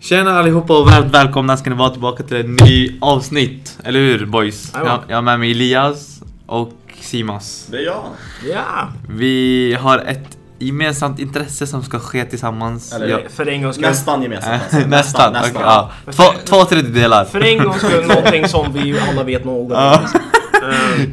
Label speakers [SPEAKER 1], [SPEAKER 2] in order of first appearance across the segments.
[SPEAKER 1] Tjena allihopa och varmt välkomna ska ni vara tillbaka till ett ny avsnitt. Eller hur boys?
[SPEAKER 2] Jajamän.
[SPEAKER 1] Jag, jag har med mig Elias och Simas.
[SPEAKER 3] Det är jag.
[SPEAKER 2] Ja!
[SPEAKER 1] Vi har ett gemensamt intresse som ska ske tillsammans.
[SPEAKER 3] Eller
[SPEAKER 1] Ja.
[SPEAKER 2] För en gångs skull.
[SPEAKER 3] Nästan gemensamt. alltså.
[SPEAKER 1] Äh, nästan. okej, ja. Två, två tredjedelar.
[SPEAKER 2] För en gångs skull någonting som vi ju alla vet något om. Eh,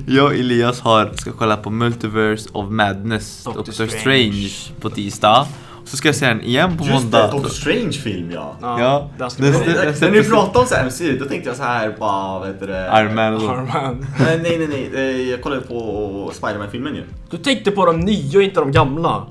[SPEAKER 1] Jag och Elias har, ska kolla på Multiverse of Madness,
[SPEAKER 2] Doctor
[SPEAKER 1] Doctor, Strange.
[SPEAKER 2] Strange.
[SPEAKER 1] på tisdag. Så ska jag se den igen på
[SPEAKER 3] Just
[SPEAKER 1] måndag.
[SPEAKER 3] det, Doctor Strange film ja.
[SPEAKER 1] Ja,
[SPEAKER 2] Ja, där ska
[SPEAKER 1] nästa-
[SPEAKER 2] vi
[SPEAKER 1] det-
[SPEAKER 3] När ni pratade om så här MCU, då tänkte jag så här bara, vad heter det?
[SPEAKER 1] Iron Man och
[SPEAKER 2] ha
[SPEAKER 1] så.
[SPEAKER 2] Arman.
[SPEAKER 3] Nej, nej, nej, nej. eh, Jag kollade på Spiderman-filmen ju.
[SPEAKER 2] Du tänkte på de nya, inte de gamla.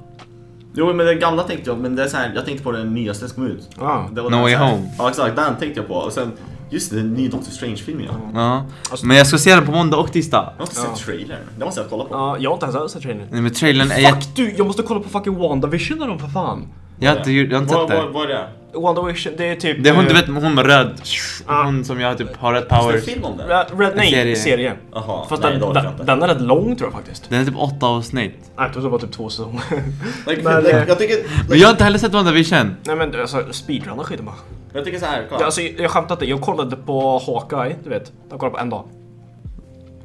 [SPEAKER 3] Jo, men den gamla tänkte jag, men det är så här, jag tänkte på den nyaste som kom ut.
[SPEAKER 2] Ja.
[SPEAKER 3] Det var
[SPEAKER 1] Ah. No
[SPEAKER 3] den
[SPEAKER 1] Way
[SPEAKER 3] så här-
[SPEAKER 1] Home.
[SPEAKER 3] Ja, exakt. Den tänkte jag på. Och sen, just det, den nya Doctor Strange-filmen ja.
[SPEAKER 1] Ja. Men jag ska se den på måndag och tisdag.
[SPEAKER 3] Jag har inte
[SPEAKER 2] Ja.
[SPEAKER 3] sett trailern. Det måste jag kolla på.
[SPEAKER 2] Ja, jag har inte ens sett trailern.
[SPEAKER 1] Nej men trailern är jätte...
[SPEAKER 2] Fuck du! Jag måste kolla på fucking WandaVision eller för fan.
[SPEAKER 1] Jag har inte, gjort- jag har inte
[SPEAKER 3] Vad-
[SPEAKER 1] sett
[SPEAKER 3] vad-
[SPEAKER 1] det.
[SPEAKER 3] Vad är det?
[SPEAKER 2] WandaVision, det är typ...
[SPEAKER 1] Det är hon
[SPEAKER 2] eh,
[SPEAKER 1] du vet, hon med röd.
[SPEAKER 2] Ah.
[SPEAKER 1] Hon som jag typ har rätt
[SPEAKER 3] Finns det en
[SPEAKER 1] powers.
[SPEAKER 3] film om det?
[SPEAKER 2] Red, Red, nej,
[SPEAKER 1] serie.
[SPEAKER 2] serie.
[SPEAKER 3] Jaha,
[SPEAKER 2] Fast
[SPEAKER 3] nej,
[SPEAKER 2] den,
[SPEAKER 3] det orkar jag
[SPEAKER 2] den,
[SPEAKER 3] inte.
[SPEAKER 2] den är rätt lång tror jag faktiskt.
[SPEAKER 1] Den är typ åtta avsnitt.
[SPEAKER 2] Nej, Jag tror det var typ två säsonger.
[SPEAKER 3] Like,
[SPEAKER 2] Men,
[SPEAKER 3] like,
[SPEAKER 2] eh,
[SPEAKER 3] jag tycker...
[SPEAKER 1] Men jag har inte heller sett WandaVision.
[SPEAKER 2] Nej men alltså speedrunna skiten bara.
[SPEAKER 3] Jag tycker så här,
[SPEAKER 2] Ja,
[SPEAKER 3] kolla.
[SPEAKER 2] Alltså, jag skämtar inte, jag kollade på Hawkeye, du vet. Jag kollade på en dag.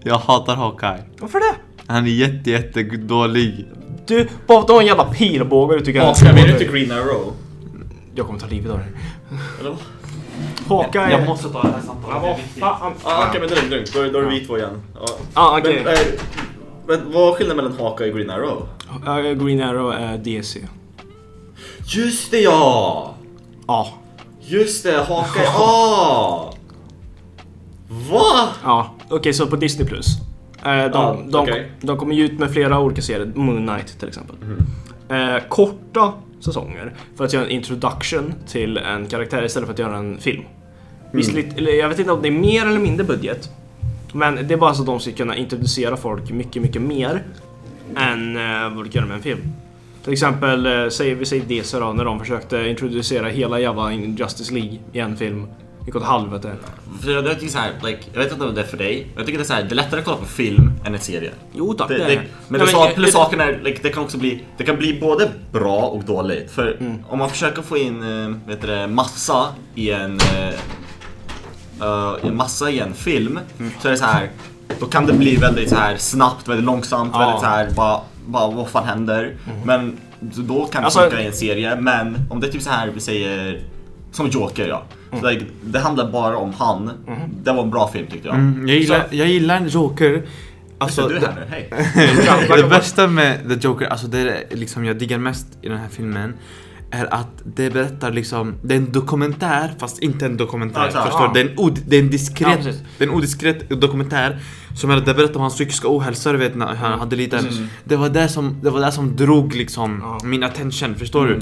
[SPEAKER 1] Jag hatar Hawkeye.
[SPEAKER 2] Varför det?
[SPEAKER 1] Han är jätte, jätte dålig.
[SPEAKER 2] Du, bara för att du har en jävla pilbåge du tycker
[SPEAKER 3] Avskyr vi inte Green Arrow?
[SPEAKER 2] Jag kommer ta livet av dig.
[SPEAKER 3] Eller vad?
[SPEAKER 2] Hawkeye.
[SPEAKER 1] måste ta det här samtalet.
[SPEAKER 2] Vad fan?
[SPEAKER 3] Ah, okej men det är lugnt, lugnt. Då, är- då är det vi två igen. Ja.
[SPEAKER 2] Ah, okej.
[SPEAKER 3] Men, eh, men vad är skillnaden mellan Haka och Green Arrow?
[SPEAKER 2] Eh, Green Arrow är DC.
[SPEAKER 3] Just det ja!
[SPEAKER 2] Ja.
[SPEAKER 3] Just det, Haka är... Ah! Va?
[SPEAKER 2] Ja. Okej, så på Disney Plus. Eh, de,
[SPEAKER 3] Ja,
[SPEAKER 2] de,
[SPEAKER 3] okej.
[SPEAKER 2] de kommer ju ut med flera olika serier, Moon Knight till exempel.
[SPEAKER 1] Mhm.
[SPEAKER 2] Eh, korta säsonger för att göra en introduction till en karaktär istället för att göra en
[SPEAKER 1] Mm.
[SPEAKER 2] film. Visst, lite, eller jag vet inte om det är mer eller mindre budget. Men det är bara så att de ska kunna introducera folk mycket, mycket mer än eh, vad du kan göra med en film. Till exempel, eh, säger vi säger DC då, när de försökte introducera hela jävla Justice League i en film. Gick åt helvete.
[SPEAKER 3] För jag, jag tycker så här, like, jag vet inte om det är för dig, men jag tycker det är så här, det är lättare att kolla på film än en serie.
[SPEAKER 2] Jo tack,
[SPEAKER 3] Det,
[SPEAKER 2] det,
[SPEAKER 3] det,
[SPEAKER 2] är det.
[SPEAKER 3] men
[SPEAKER 2] Nej,
[SPEAKER 3] det sa,
[SPEAKER 2] eh,
[SPEAKER 3] plus
[SPEAKER 2] det-
[SPEAKER 3] saken är, like, det kan också bli, det kan bli både bra och dåligt. För
[SPEAKER 2] Mm.
[SPEAKER 3] om man försöker få in eh, vad heter det, massa i en, eh, eh, en massa i en film
[SPEAKER 2] Mm.
[SPEAKER 3] så är det så här, då kan det bli väldigt så här snabbt, väldigt långsamt,
[SPEAKER 2] Ja. Mm.
[SPEAKER 3] väldigt så här, bara, bara vad fan händer? Men då kan det
[SPEAKER 2] Alltså-
[SPEAKER 3] funka i en serie, men om det är typ så här vi säger, som Joker ja.
[SPEAKER 2] Mm.
[SPEAKER 3] Så, like, det handlar bara om han.
[SPEAKER 2] Mm-hmm.
[SPEAKER 3] Det var en bra film tyckte jag.
[SPEAKER 1] Mm, jag, gillar, jag gillar en Joker. Alltså,
[SPEAKER 3] Så du är
[SPEAKER 1] det,
[SPEAKER 3] här nu, hej.
[SPEAKER 1] det bästa med The Joker, alltså det är liksom jag diggar mest i den här filmen är att det berättar liksom, det är en dokumentär fast inte en
[SPEAKER 3] Ja,
[SPEAKER 1] dokumentär.
[SPEAKER 3] exakt.
[SPEAKER 1] förstår du?
[SPEAKER 2] Ja.
[SPEAKER 1] Det är en, od, det är en
[SPEAKER 2] Ja,
[SPEAKER 1] diskret,
[SPEAKER 2] precis.
[SPEAKER 1] det är en oddiskret dokumentär som är, det berättar om hans psykiska ohälsa, du vet när
[SPEAKER 2] Mm.
[SPEAKER 1] han hade lite Det var det som, det var det som drog liksom
[SPEAKER 2] Ja. Mm.
[SPEAKER 1] min attention, förstår du?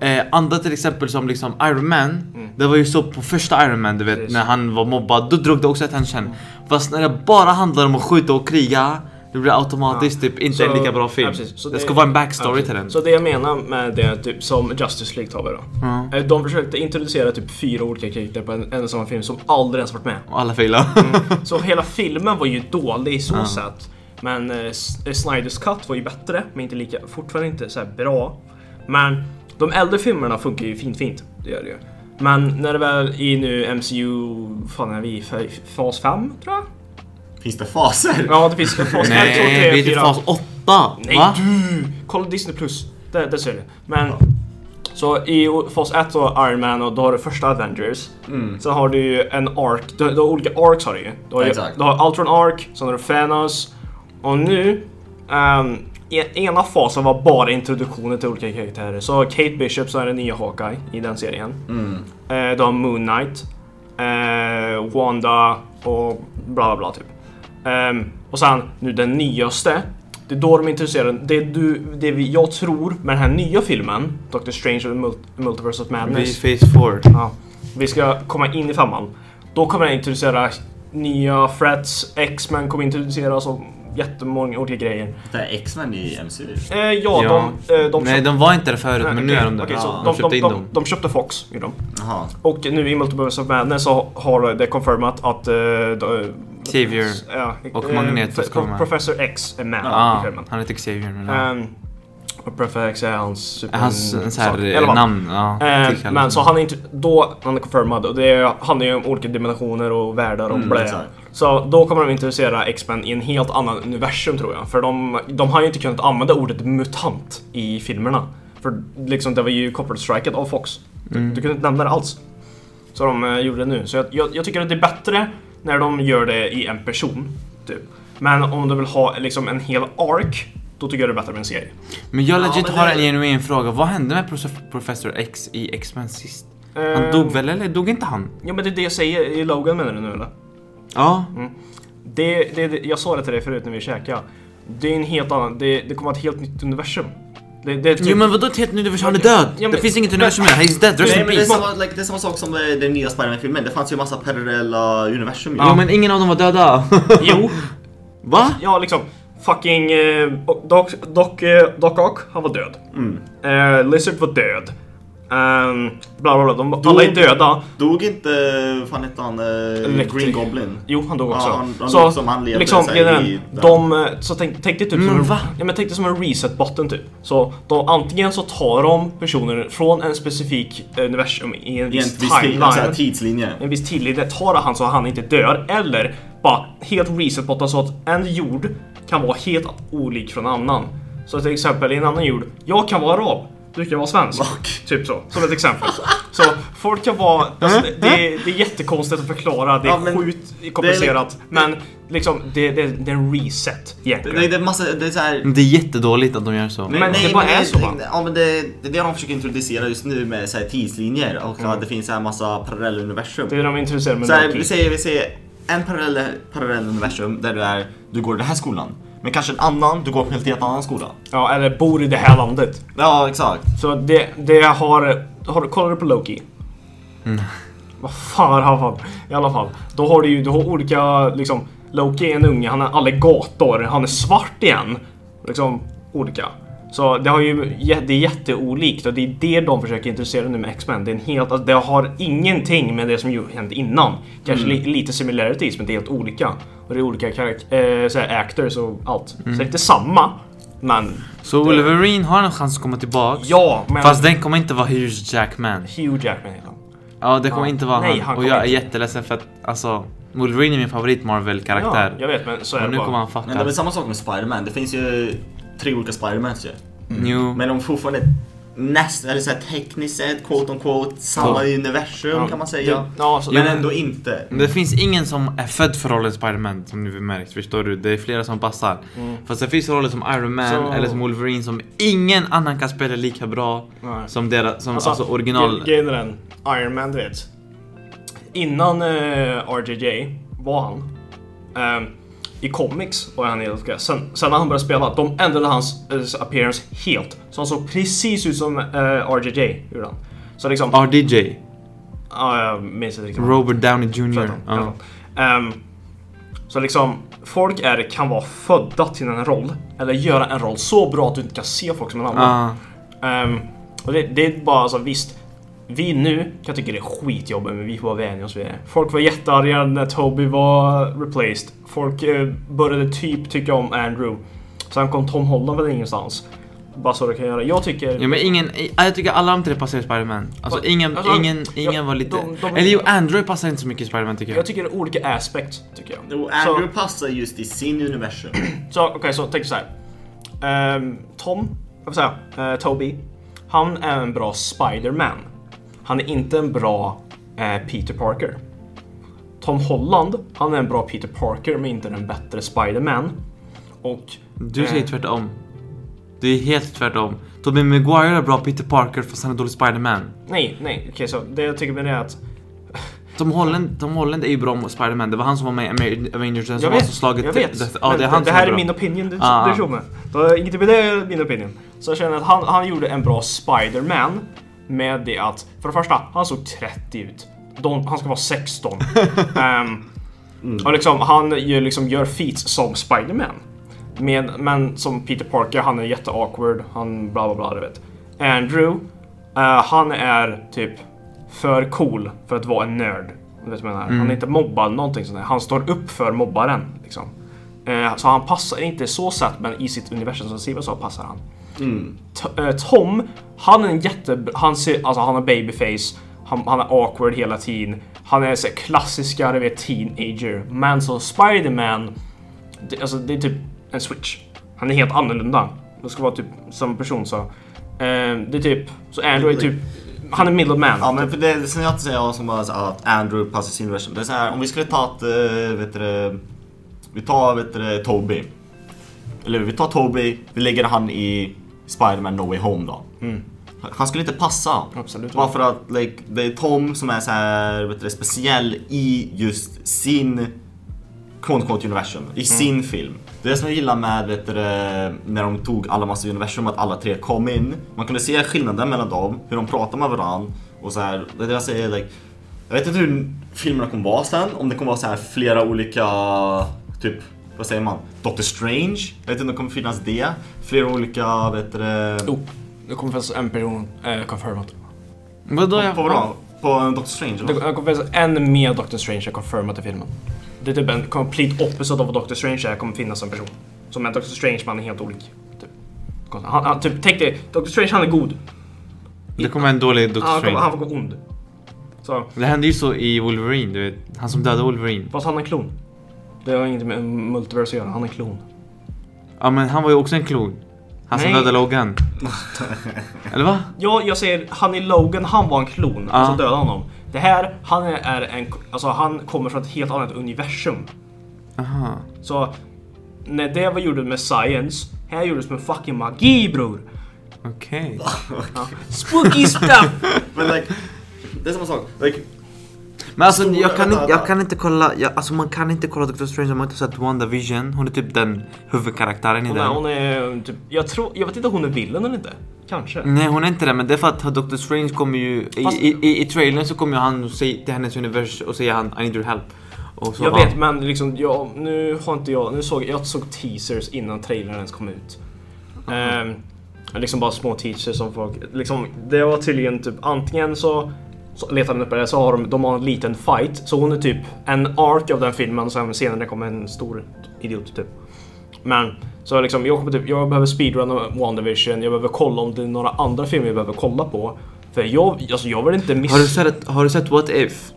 [SPEAKER 1] Eh, andra till exempel som liksom Iron Man, det var ju så på första Iron Man du vet,
[SPEAKER 2] Precis. Mm.
[SPEAKER 1] när han var mobbad, då drog det också attention. Fast när det bara handlar om att skjuta och kriga, det blir automatiskt typ inte
[SPEAKER 2] Så-
[SPEAKER 1] en lika bra film.
[SPEAKER 2] ja, precis. Så
[SPEAKER 1] det, ska vara en backstory till den.
[SPEAKER 2] Så det jag menar med det typ, som Justice League tar vi då.
[SPEAKER 1] Ja.
[SPEAKER 2] Eh, De försökte introducera typ fyra olika karaktärer på en, en och samma film som aldrig ens varit med.
[SPEAKER 1] Och alla failar.
[SPEAKER 2] Så hela filmen var ju dålig i så sätt. Men eh, S- eh, Snyders Cut var ju bättre, men inte lika, fortfarande inte så här bra. Men de äldre filmerna funkar ju fint, fint. Det gör det ju. Men när det väl i nu MCU, fan är vi i fa- fas 5 tror jag?
[SPEAKER 3] Finns det faser?
[SPEAKER 2] Ja, det finns fas 5, 2, 3, 4.
[SPEAKER 1] Nej, vi är i fas 8!
[SPEAKER 2] Nej du! Kolla Disney plus. Där, där ser du. Men så i o- fas 1 så Iron Man och då har du första Avengers. Sen har du ju en Ark. Du, du har olika Arcs har du ju. Du har, ju,
[SPEAKER 3] Exakt.
[SPEAKER 2] du har Ultron Ark, sen har du Thanos. Och nu, ehm, e- ena fasen var bara introduktionen till olika karaktärer. Så Kate Bishop som är den nya Hawkeye i den serien. Eh, du har Moon Knight, eh, Wanda och bla bla bla typ. Ehm, och sen nu den nyaste. Det är då de är intresserade. Det, du, det vi, jag tror med den här nya filmen, Doctor Strange and the Mul- Multiverse of
[SPEAKER 1] Vi är
[SPEAKER 2] Madness.
[SPEAKER 1] i phase 4.
[SPEAKER 2] Ja, vi ska komma in i femman. Då kommer den introducera nya threats, X-Men kommer introduceras och jättemånga olika grejer.
[SPEAKER 3] Det är X-Men i MCU.
[SPEAKER 2] Eh, ja,
[SPEAKER 1] Ja.
[SPEAKER 2] de, eh, de
[SPEAKER 1] Nej,
[SPEAKER 2] köpte-
[SPEAKER 1] de var inte det förut,
[SPEAKER 2] Nej,
[SPEAKER 1] men nu
[SPEAKER 2] okej,
[SPEAKER 1] är de det.
[SPEAKER 2] okej, så
[SPEAKER 3] Ja,
[SPEAKER 1] de,
[SPEAKER 2] de,
[SPEAKER 1] köpte
[SPEAKER 2] de,
[SPEAKER 1] in
[SPEAKER 2] de,
[SPEAKER 1] dem.
[SPEAKER 2] de köpte Fox, gjorde de.
[SPEAKER 3] Jaha.
[SPEAKER 2] Och nu i Multiverse of Madness så har det confirmat att... eh, då-
[SPEAKER 1] Xavier.
[SPEAKER 2] Ja,
[SPEAKER 1] Och
[SPEAKER 2] eh,
[SPEAKER 1] Magneto ska
[SPEAKER 2] pro-
[SPEAKER 1] vara med.
[SPEAKER 2] Professor X är med i
[SPEAKER 1] Ah,
[SPEAKER 2] filmen.
[SPEAKER 1] han heter Xavier. Men,
[SPEAKER 2] Ehm, Och Prefix är hans super...
[SPEAKER 1] Hans så
[SPEAKER 2] sak. Eh, mm, I alla
[SPEAKER 1] här,
[SPEAKER 2] fall.
[SPEAKER 1] namn, ja,
[SPEAKER 2] Eh,
[SPEAKER 1] tillkallelse.
[SPEAKER 2] men så han är inte, då, han är confirmad och det är- handlar ju om olika dimensioner och världar och
[SPEAKER 3] Mm,
[SPEAKER 2] blä.
[SPEAKER 3] exakt.
[SPEAKER 2] Så då kommer de introducera X-Men i en helt annan universum tror jag. För de, de har ju inte kunnat använda ordet mutant i filmerna. För liksom det var ju copper-striket av Fox. Du, du kunde inte nämna det alls. Så de eh, gjorde det nu. Så jag, jag, jag tycker att det är bättre när de gör det i en person. Typ. Men om du vill ha liksom en hel ark, då tycker jag det är bättre med en serie.
[SPEAKER 1] Men jag
[SPEAKER 3] Ja,
[SPEAKER 1] legit
[SPEAKER 3] men
[SPEAKER 1] har
[SPEAKER 3] det-
[SPEAKER 1] en genuin fråga. Vad hände med Prof- Professor X i X-Men sist? Han
[SPEAKER 2] Eh,
[SPEAKER 1] dog väl eller dog inte han?
[SPEAKER 2] Ja men det är det jag säger i Logan menar du nu eller?
[SPEAKER 1] Ja.
[SPEAKER 2] Mm. Det, det, det, jag sa det till dig förut när vi käkade. Det är en helt annan, det, det kommer att vara ett helt nytt universum. Det, det är typ,
[SPEAKER 1] Jo men vadå ett helt nytt universum? Han är död!
[SPEAKER 2] Ja, men-
[SPEAKER 1] det finns inget universum mer, he's dead, rest
[SPEAKER 3] Nej,
[SPEAKER 1] in
[SPEAKER 3] men det, är
[SPEAKER 1] peace.
[SPEAKER 3] samma, like, det är samma sak som eh, den nya Spiderman-filmen. Det fanns ju massa parallella universum ju.
[SPEAKER 1] Jo men ingen av dem var döda.
[SPEAKER 2] Jo,
[SPEAKER 1] Va?
[SPEAKER 2] ja liksom. Fucking eh, Doc, Doc, eh, Doc Ock, han var död.
[SPEAKER 3] Mm.
[SPEAKER 2] Eh, Lizard var död. Ehm, bla bla bla, de, alla är döda.
[SPEAKER 3] Dog inte, fan hette han, eh,
[SPEAKER 2] Electric.
[SPEAKER 3] Green Goblin?
[SPEAKER 2] Jo, han dog också.
[SPEAKER 3] Ja, han- han dog som han levde
[SPEAKER 2] liksom,
[SPEAKER 3] så här
[SPEAKER 2] grejen är
[SPEAKER 3] i-
[SPEAKER 2] den, de, eh, så tänk, tänk dig typ
[SPEAKER 1] Men
[SPEAKER 2] som en,
[SPEAKER 1] va?
[SPEAKER 2] ja, men tänk dig som en reset button typ. Så de, antingen så tar de personer från en specifik universum i en
[SPEAKER 3] I en
[SPEAKER 2] viss
[SPEAKER 3] viss tid,
[SPEAKER 2] timeline.
[SPEAKER 3] alltså, här tidslinje.
[SPEAKER 2] en viss tillit tar han så att han inte dör eller bara helt resetbotta så att en jord kan vara helt olik från en annan. Så till exempel i en annan jord, jag kan vara arab, du kan vara svensk. Typ så, som ett exempel. Så folk kan vara, alltså, det, det, är, det är jättekonstigt att förklara, det är
[SPEAKER 3] Mm. Ja, men
[SPEAKER 2] sjukt komplicerat. men liksom, det, det, det är en reset egentligen.
[SPEAKER 3] Nej, det är massa, det är så här,
[SPEAKER 1] Det är jättedåligt att de gör så.
[SPEAKER 2] Men det bara är så, va?
[SPEAKER 3] Ja men det, det är det de försöker introducera just nu med så här, tidslinjer och
[SPEAKER 2] Mm.
[SPEAKER 3] att det finns så här massa parallelluniversum.
[SPEAKER 2] det är de introducerar med
[SPEAKER 3] Så här,
[SPEAKER 2] Loki.
[SPEAKER 3] vi säger, vi säger en parallell, parallell universum där du, är, du går i den här skolan. Men kanske en annan, du går på en helt, helt annan skola.
[SPEAKER 2] Ja, eller bor i det här landet.
[SPEAKER 3] Ja, exakt.
[SPEAKER 2] Så det, det har, har... du- Kollar du på Loki?
[SPEAKER 1] Mm.
[SPEAKER 2] Vad fan har han? I alla fall. Då har du ju du har olika... Liksom, Loki är en unge, han är alligator, han är svart igen. Liksom olika. Så det, har ju, jä- det är jätteolikt och det är det de försöker introducera nu med X-Men. Det, är en helt, alltså, det har ingenting med det som ju hänt innan. Kanske
[SPEAKER 1] Mm.
[SPEAKER 2] li, lite similarities men det är helt olika. Och det är olika karak- eh, såhär, actors och allt. Så det är inte samma. Men
[SPEAKER 1] Mm. Så Wolverine har en chans att komma tillbaks.
[SPEAKER 2] ja, men
[SPEAKER 1] Fast den kommer inte vara Hugh Jackman.
[SPEAKER 2] Hugh Jackman heter han.
[SPEAKER 1] Ja det kommer
[SPEAKER 2] Ja.
[SPEAKER 1] inte vara
[SPEAKER 2] Nej,
[SPEAKER 1] han.
[SPEAKER 2] han
[SPEAKER 1] Och
[SPEAKER 2] kommer
[SPEAKER 1] jag är
[SPEAKER 2] inte.
[SPEAKER 1] jätteledsen för att alltså Wolverine är min favorit Marvel-karaktär.
[SPEAKER 2] Ja, jag vet men så är
[SPEAKER 1] Och
[SPEAKER 2] det
[SPEAKER 1] nu
[SPEAKER 2] bara.
[SPEAKER 1] kommer han
[SPEAKER 3] Men det är
[SPEAKER 1] fatta.
[SPEAKER 3] väl samma sak med Spider-Man. Det finns ju tre olika Spider-Mans ju.
[SPEAKER 1] Jo.
[SPEAKER 3] Men de är fortfarande näst, eller så här tekniskt sett, quote on quote, samma universum kan man säga.
[SPEAKER 2] Det, ja, så,
[SPEAKER 3] Men
[SPEAKER 2] det-
[SPEAKER 3] ändå inte.
[SPEAKER 1] Men Det finns ingen som är född för rollen Spiderman som ni märkt, förstår du? Det är flera som passar. Fast det finns roller som Iron Man
[SPEAKER 2] Mm. Så-
[SPEAKER 1] eller som Wolverine som ingen annan kan spela lika bra
[SPEAKER 2] Nej.
[SPEAKER 1] som, deras, som
[SPEAKER 2] alltså,
[SPEAKER 1] alltså, original...
[SPEAKER 2] gre- Grejen är den, Iron Man du vet. Innan eh, RJJ var han ehm, i comics var han helt okej. Sen, sen när han började spela, de ändrade hans eh, appearance helt. Så han såg precis ut som eh, RJJ gjorde han. Så liksom, ja
[SPEAKER 1] RDJ,
[SPEAKER 2] jag minns inte riktigt.
[SPEAKER 1] Robert Downey Jr.
[SPEAKER 2] Tvärtom,
[SPEAKER 1] Ja.
[SPEAKER 2] tvärtom. Ehm, så liksom, folk är, kan vara födda till en roll, eller göra en roll så bra att du inte kan se folk som en annan.
[SPEAKER 1] Ja.
[SPEAKER 2] Ehm, och det, det är bara alltså visst. Vi nu kan tycka det är skitjobbigt men vi får vara vänja oss vid det. Folk var jättearga när Toby var replaced. Folk eh, började typ tycka om Andrew. Sen kom Tom Holland väl ingenstans. Bara så det kan göra. Jag tycker...
[SPEAKER 1] Ja, men ingen, jag tycker alla de tre passar i Spiderman. Alltså
[SPEAKER 2] Fast-
[SPEAKER 1] ingen,
[SPEAKER 2] alltså,
[SPEAKER 1] ingen,
[SPEAKER 2] ja,
[SPEAKER 1] ingen var lite...
[SPEAKER 2] de- de-
[SPEAKER 1] Eller jo, Android passar inte så mycket i Spiderman tycker
[SPEAKER 2] Jag
[SPEAKER 1] jag.
[SPEAKER 2] tycker det är olika aspects, tycker jag.
[SPEAKER 3] Och
[SPEAKER 2] Så-
[SPEAKER 3] Andrew passar just i sin universum.
[SPEAKER 2] Så okej, så tänk så här. Ehm, Tom, vad säger jag? Eh, Toby. Han är en bra Spider-Man. Han är inte en bra eh, Peter Parker. Tom Holland, han är en bra Peter Parker men inte den bättre Spider-Man. Och
[SPEAKER 1] Du
[SPEAKER 2] Eh.
[SPEAKER 1] säger tvärtom. Det är helt tvärtom. Tobey Maguire är bra Peter Parker fast han är dålig Spiderman.
[SPEAKER 2] nej, nej, okej så det jag tycker med det är att
[SPEAKER 1] Tom Holland, Tom Holland är ju bra mot Spider-Man, det var han som var med i Amer- Avengers, den
[SPEAKER 2] jag
[SPEAKER 1] som var
[SPEAKER 2] vet,
[SPEAKER 1] så slaget
[SPEAKER 2] jag vet.
[SPEAKER 1] Det, ja,
[SPEAKER 2] men
[SPEAKER 1] det, är han
[SPEAKER 2] det
[SPEAKER 1] som
[SPEAKER 2] här är
[SPEAKER 1] bra.
[SPEAKER 2] min opinion, du,
[SPEAKER 1] Ah.
[SPEAKER 2] du tror mig. Det har inget med det, är min opinion. Så jag känner att han, han gjorde en bra Spider-Man med det att, för det första, han såg 30 ut. De, han ska vara 16. Ehm, Och liksom, han gör, liksom, gör feats som Spider-Man. Med, men som Peter Parker, han är jätteawkward, han bla bla bla, du vet. Andrew, eh, han är typ för cool för att vara en nörd. Du vet vad jag menar? Han är inte mobbad, någonting sånt där. Han står upp för mobbaren. Liksom. Eh, så han passar inte så sätt, men i sitt universum som Steven sa passar han. T- eh, Tom, han är en jätte... Han, ser, alltså, han har babyface, han, han är awkward hela tiden. Han är så här klassiska, du vet, teenager. Men som Spiderman, det, alltså, det är typ en switch. Han är helt annorlunda. Det ska vara typ som person så. Eh, det är typ... Så Andrew är typ... Han är middleman.
[SPEAKER 3] Ja men för det, det som jag alltid säger som bara så här, att Andrew passar sin version. Det är så här, om vi skulle ta att, eh, vet du det, Vi tar, vet du det, Toby. Eller vi tar Toby, vi lägger han i Spider-Man No Way Home då. Han- Han skulle inte passa.
[SPEAKER 2] Absolut.
[SPEAKER 3] Bara för att like, det är Tom som är så här, vet du det, speciell i just sin Quantum Quantum Universum,
[SPEAKER 1] Mm.
[SPEAKER 3] i sin film. Det är det som jag gillar med vet du, det, när de tog alla massa universum, att alla tre kom in. Man kunde se skillnaden mellan dem, hur de pratar med varandra. Och så här, det är det jag säger, like, jag vet inte hur filmerna kommer vara sen, om det kommer vara så här flera olika, typ, vad säger man? Doctor Strange? Jag vet inte om det kommer finnas det. Flera olika, vet du, det-
[SPEAKER 2] Jo, Oh, det kommer finnas en person eh, confirmat.
[SPEAKER 1] Vadå? jag-
[SPEAKER 3] på vadå? På en Doctor Strange?
[SPEAKER 2] Oh, Det
[SPEAKER 3] Eller? vad?
[SPEAKER 2] det kommer finnas en mer Doctor Strange är confirmat i filmen. Det är typ en complete opposite av vad Doctor Strange är, kommer finnas som person. Som en Doctor Strange man är helt olik. Typ. Han, han, typ, tänk dig, Doctor Strange han är god.
[SPEAKER 1] Det kommer en dålig Doctor
[SPEAKER 2] Han kommer, han
[SPEAKER 1] Strange.
[SPEAKER 2] kommer ond. Så,
[SPEAKER 1] Det hände ju så i Wolverine, du vet. Han som dödade Wolverine.
[SPEAKER 2] fast han är en klon. Det har inget med multiverse att göra, han är en klon.
[SPEAKER 1] Ja men han var ju också en klon. Han som
[SPEAKER 2] Nej.
[SPEAKER 1] dödade Logan. Eller va?
[SPEAKER 2] Ja, jag säger han i Logan, han var en klon.
[SPEAKER 1] Ja.
[SPEAKER 2] Alltså döda honom. Det här, han är- är en, alltså han kommer från ett helt annat universum.
[SPEAKER 1] Aha.
[SPEAKER 2] Så när det var gjorde med science, här gjordes med fucking magi bror.
[SPEAKER 1] Okej.
[SPEAKER 2] Ja. Spooky stuff!
[SPEAKER 3] Men like, det är samma sak. Like,
[SPEAKER 1] Men alltså
[SPEAKER 3] Stora
[SPEAKER 1] jag kan, inte, jag
[SPEAKER 3] ögon.
[SPEAKER 1] kan inte kolla, jag, alltså man kan inte kolla Doctor Strange om man inte har sett WandaVision. Hon är typ den huvudkaraktären i
[SPEAKER 2] Hon är,
[SPEAKER 1] den.
[SPEAKER 2] hon är typ, jag tror, jag vet inte om hon är villen eller inte. Kanske.
[SPEAKER 1] Nej hon är inte det men det är för att Doctor Strange kommer ju, i,
[SPEAKER 2] Fast-
[SPEAKER 1] i, i, i trailern så kommer ju han och säger till hennes universum och säger han I need your help. Och så,
[SPEAKER 2] Jag
[SPEAKER 1] ja.
[SPEAKER 2] vet men liksom, jag, nu har inte jag, nu såg jag såg teasers innan trailern ens kom ut. Ehm, liksom bara små teasers som folk, liksom det var tydligen typ antingen så, så letar de upp det så har de, de har en liten fight, så hon är typ en ark av den filmen och sen senare kommer en stor idiot typ. Men så liksom, jag, kommer typ, jag behöver speedrunna WandaVision, jag behöver kolla om det är några andra filmer jag behöver kolla på. För jag, alltså jag vill inte missa...
[SPEAKER 1] Har du sett, har du sett What If?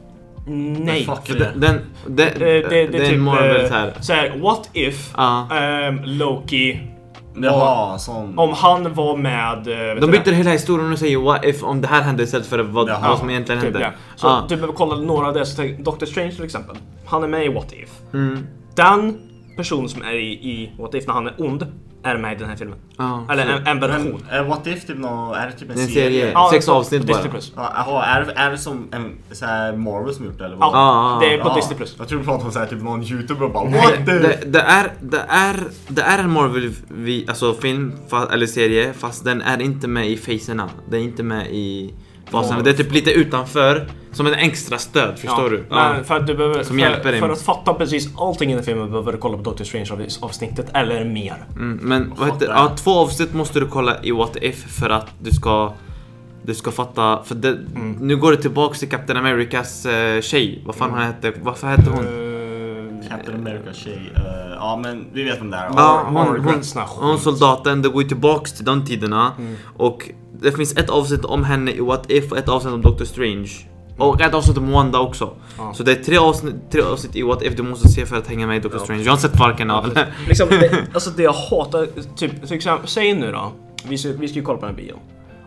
[SPEAKER 2] Nej!
[SPEAKER 3] fuck
[SPEAKER 1] För
[SPEAKER 3] det.
[SPEAKER 1] Den, den, den,
[SPEAKER 2] Eh, det, det,
[SPEAKER 1] den
[SPEAKER 2] är typ
[SPEAKER 1] Marvel
[SPEAKER 2] Marvel
[SPEAKER 1] så här.
[SPEAKER 2] Så här, what if
[SPEAKER 1] Ja.
[SPEAKER 2] ehm, Loki,
[SPEAKER 3] Jaha, sån.
[SPEAKER 2] om han var med... eh, vet
[SPEAKER 1] De
[SPEAKER 2] du
[SPEAKER 1] byter
[SPEAKER 2] det?
[SPEAKER 1] hela historien och säger what if om det här hände istället för vad,
[SPEAKER 3] Jaha,
[SPEAKER 1] vad som egentligen
[SPEAKER 2] Typ,
[SPEAKER 1] hände.
[SPEAKER 2] ja. Så
[SPEAKER 1] Ja.
[SPEAKER 2] du behöver kolla några av det. Så tänk, Doctor Strange till exempel. Han är med i What If.
[SPEAKER 1] Mm.
[SPEAKER 2] Den person som är i, i What If när han är ond är med i den här filmen.
[SPEAKER 1] Ja.
[SPEAKER 2] Eller en, en version.
[SPEAKER 3] Men är What If typ nå, är det typ en
[SPEAKER 1] Det är en
[SPEAKER 3] serie?
[SPEAKER 1] serie.
[SPEAKER 2] Ja,
[SPEAKER 1] Sex
[SPEAKER 2] på
[SPEAKER 1] avsnitt bara.
[SPEAKER 2] Disney Plus.
[SPEAKER 3] Ja, Jaha, är, det- är det som en så här Marvel som gjort det eller?
[SPEAKER 2] Ja,
[SPEAKER 3] vad?
[SPEAKER 1] ja,
[SPEAKER 2] det är på
[SPEAKER 3] Ja,
[SPEAKER 2] Disney Plus.
[SPEAKER 3] Jag tror du pratade om så här, typ någon youtuber och bara What the?
[SPEAKER 1] Det, det, är, det, är, det är en Marvel vi, alltså film fa, eller serie fast den är inte med i faserna. Den är inte med i faserna. Det är typ lite utanför. Som en extra stöd, förstår
[SPEAKER 2] Ja,
[SPEAKER 1] du?
[SPEAKER 2] Men för att du behöver,
[SPEAKER 1] Som
[SPEAKER 2] för,
[SPEAKER 1] hjälper dig.
[SPEAKER 2] för att fatta precis allting i den filmen behöver du kolla på Doctor Strange avs- avsnittet eller mer.
[SPEAKER 1] Mm, men vad heter,
[SPEAKER 3] Fattar.
[SPEAKER 1] ja, två avsnitt måste du kolla i What If för att du ska du ska fatta, för det,
[SPEAKER 3] Mm.
[SPEAKER 1] nu går det tillbaks till Captain Americas eh, tjej. Vad
[SPEAKER 3] Mm.
[SPEAKER 1] fan hon hette? Varför hette hon?
[SPEAKER 2] Eh,
[SPEAKER 3] Captain America tjej. eh, ja men vi vet om det är.
[SPEAKER 1] Ja, hon,
[SPEAKER 2] Margaret,
[SPEAKER 1] hon,
[SPEAKER 2] sån här skit.
[SPEAKER 1] hon soldaten, det går ju tillbaks till de tiderna. Och det finns ett avsnitt om henne i What If och ett avsnitt om Doctor Strange. Och ett avsnitt om Wanda också.
[SPEAKER 2] Ja.
[SPEAKER 1] Så det är tre avsnitt, tre avsnitt i What If du måste se för att hänga med i Doctor Strange. Jag har inte sett varken av.
[SPEAKER 2] liksom, det, alltså det jag hatar, typ, till exempel, säg nu då, vi ska, vi ska ju kolla på den här bion.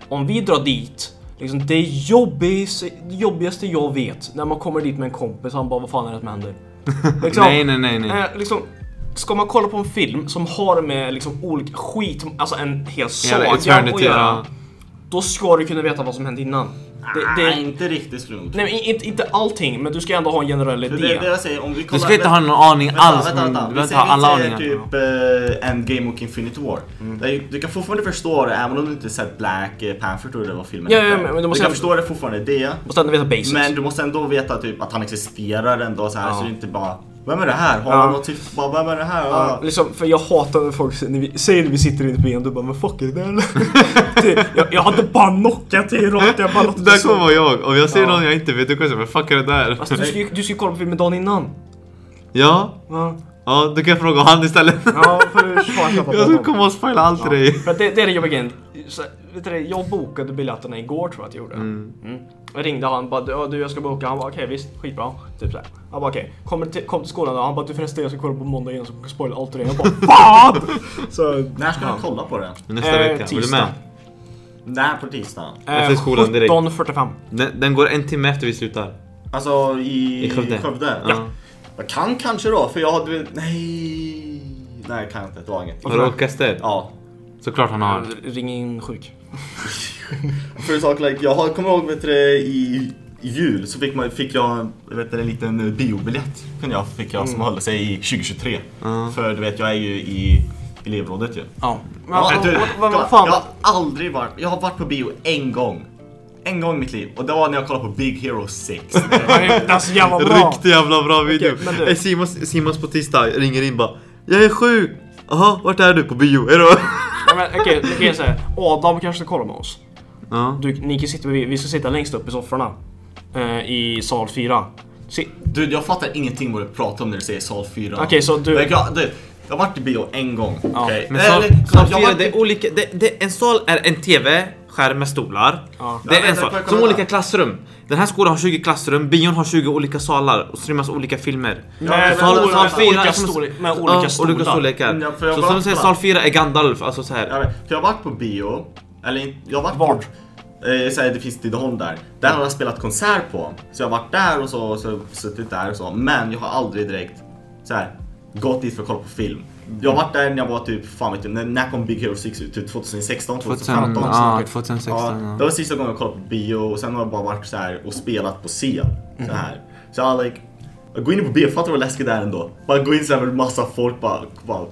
[SPEAKER 2] Om vi drar dit, liksom det jobbigaste, jobbigaste jag vet, när man kommer dit med en kompis, han bara vad fan är det som händer? Liksom,
[SPEAKER 1] Nej, nej, nej, nej.
[SPEAKER 2] eh, liksom, ska man kolla på en film som har med liksom olika skit, alltså en hel
[SPEAKER 1] Hela
[SPEAKER 2] saga att
[SPEAKER 1] Eternity,
[SPEAKER 2] göra,
[SPEAKER 1] ja.
[SPEAKER 2] då ska du kunna veta vad som hände innan. Det,
[SPEAKER 3] Nej,
[SPEAKER 2] det,
[SPEAKER 3] inte riktigt skulle jag nog tro.
[SPEAKER 2] nej, men inte, inte allting, men du ska ändå ha en generell
[SPEAKER 3] För Det
[SPEAKER 2] idé.
[SPEAKER 3] är det jag säger, om vi kollar...
[SPEAKER 1] Du ska inte ha någon aning
[SPEAKER 3] Vänta,
[SPEAKER 1] alls.
[SPEAKER 3] Vänta, vänta.
[SPEAKER 1] Du
[SPEAKER 3] Vi
[SPEAKER 1] behöver inte
[SPEAKER 3] säger,
[SPEAKER 1] ha alla
[SPEAKER 3] vi säger
[SPEAKER 1] aningar.
[SPEAKER 3] typ eh, Endgame och Infinity War.
[SPEAKER 2] Mm.
[SPEAKER 3] Det är ju- Du kan fortfarande förstå det även om du inte sett Black eh, Panther tror jag det var filmen
[SPEAKER 2] Ja, ja,
[SPEAKER 3] hette.
[SPEAKER 2] men- men du
[SPEAKER 3] Du
[SPEAKER 2] måste-
[SPEAKER 3] kan förstå det fortfarande, det.
[SPEAKER 2] Måste ändå veta basics.
[SPEAKER 3] Men du måste ändå veta typ att han existerar ändå så här
[SPEAKER 2] Ja.
[SPEAKER 3] så det är inte bara Vem är det här? Har
[SPEAKER 2] Ja.
[SPEAKER 3] han något typ bara vem är det här?
[SPEAKER 2] Ja,
[SPEAKER 3] Ja.
[SPEAKER 2] liksom, för jag hatar när folk säger- när vi, säger när vi sitter i ett ben, du bara men fuck är det där eller?" Det- jag, jag hade bara knockat dig rakt, jag bara låtit det så.
[SPEAKER 1] jag. Om jag
[SPEAKER 2] ser någon Alltså,
[SPEAKER 1] jag inte vet, då kommer jag säga men fuck är det där?
[SPEAKER 2] Fast du ska ju du ska ju kolla på filmen dagen innan.
[SPEAKER 1] Ja,
[SPEAKER 2] Ja.
[SPEAKER 1] Ja, du kan fråga han istället.
[SPEAKER 2] Ja, för svarta på
[SPEAKER 1] Jag ska komma och spoila allt till dig.
[SPEAKER 2] För att det, det är det jobbiga grejen. Så, vet du, det, jag bokade biljetterna igår tror jag att jag gjorde. Mm. Jag ringde han bara "Ja, du jag ska boka. Han bara okej visst, skitbra. Typ såhär. Han bara okej, kommer till, kom till skolan då. Han bara du förresten jag ska kolla på måndag igen så kan jag spoila allt till dig. Jag bara FAN! Så,
[SPEAKER 3] När ska man kolla på det?
[SPEAKER 1] Nästa
[SPEAKER 2] Eh,
[SPEAKER 1] vecka, vill du
[SPEAKER 2] tisdag.
[SPEAKER 1] med?
[SPEAKER 3] När på tisdag?
[SPEAKER 1] Efter
[SPEAKER 2] Eh,
[SPEAKER 1] skolan direkt.
[SPEAKER 2] 17.45.
[SPEAKER 1] Den, den går en timme efter vi slutar.
[SPEAKER 3] Alltså i,
[SPEAKER 1] I Skövde.
[SPEAKER 3] Ja. Jag kan kanske då, för jag hade... Nej! Nej, jag kan inte. Det var inget.
[SPEAKER 1] Har du orkester?
[SPEAKER 3] Ja.
[SPEAKER 1] Såklart han har.
[SPEAKER 2] Ring in sjuk.
[SPEAKER 3] För en sak, like, jag har- kommer ihåg vet du, det, i jul så fick, man, fick jag vet du, en liten eh, biobiljett. Kunde jag, fick jag som höll sig i 2023.
[SPEAKER 1] Ja.
[SPEAKER 3] För du vet, jag är ju i elevrådet ju.
[SPEAKER 2] Ja. Men,
[SPEAKER 3] Ja,
[SPEAKER 2] vad-
[SPEAKER 3] du,
[SPEAKER 2] vad- vad,
[SPEAKER 3] jag,
[SPEAKER 2] vad fan?
[SPEAKER 3] jag har aldrig varit, jag har varit på bio en gång. En gång i mitt liv och det var när jag kollade på Big Hero 6.
[SPEAKER 2] Alltså jävla bra.
[SPEAKER 1] Riktigt jävla bra video.
[SPEAKER 2] Okej, men du-
[SPEAKER 1] Eh, Simons, Simons på tisdag ringer in bara. Jag är sjuk! Jaha, vart är du? På bio? Är du?
[SPEAKER 2] Ja, men Okej, okay, okay, så här. Adam kanske ska kolla med oss.
[SPEAKER 1] Ja.
[SPEAKER 2] Du, ni kan sitta, vi, vi ska sitta längst upp i sofforna. Eh, I sal 4. Si,
[SPEAKER 3] Du, jag fattar ingenting vad du pratar om när du säger sal 4.
[SPEAKER 2] Okej, så du-
[SPEAKER 3] Jag, jag, du, jag har varit i bio en gång. Eh, Ja.
[SPEAKER 1] Men sal, sal fyra, det är olika. Det, det, en sal är en TV. Skärm med stolar.
[SPEAKER 2] Ja.
[SPEAKER 1] Det
[SPEAKER 3] Ja,
[SPEAKER 1] är en
[SPEAKER 3] men-
[SPEAKER 1] sal.
[SPEAKER 3] kolla, kolla
[SPEAKER 1] Som
[SPEAKER 3] där.
[SPEAKER 1] olika klassrum. Den här skolan har 20 klassrum, bion har 20 olika salar och streamas olika filmer.
[SPEAKER 2] men-
[SPEAKER 1] sal,
[SPEAKER 2] men-
[SPEAKER 1] sal
[SPEAKER 2] men-
[SPEAKER 1] fyra
[SPEAKER 2] Eh, olika
[SPEAKER 1] är som-
[SPEAKER 2] storlek- men
[SPEAKER 1] ja,
[SPEAKER 2] olika stolar.
[SPEAKER 1] olika storlekar.
[SPEAKER 3] Ja, för jag
[SPEAKER 1] så
[SPEAKER 3] bara-
[SPEAKER 1] som du säger, sal 4 är Gandalf. Alltså så här.
[SPEAKER 3] Jag, vet, för jag har varit på bio, eller inte- jag har varit
[SPEAKER 2] Vart?
[SPEAKER 3] på, eh, så här, det finns Tidaholm där. Där har jag spelat konsert på. Så jag har varit där och så, och så har jag suttit där och så. Men jag har aldrig direkt så här, gått dit för att kolla på film. Jag har varit där när jag var typ, fan vet du, när, när kom Big Hero 6 ut? Typ 2016, 2015?
[SPEAKER 1] ja, 2016.
[SPEAKER 3] Ja,
[SPEAKER 1] ja.
[SPEAKER 3] det var sista gången jag kollade på bio och sen har jag bara varit så här och spelat på scen. Så här. Så jag like, gå in på bio, fattar du vad läskigt det är ändå? Bara gå in så här med massa folk bara, bara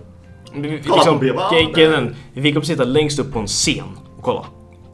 [SPEAKER 2] vi, vi,
[SPEAKER 3] Kolla
[SPEAKER 2] liksom,
[SPEAKER 3] på Beba.
[SPEAKER 2] gre- grejen är den, vi kommer sitta längst upp på en scen och kolla.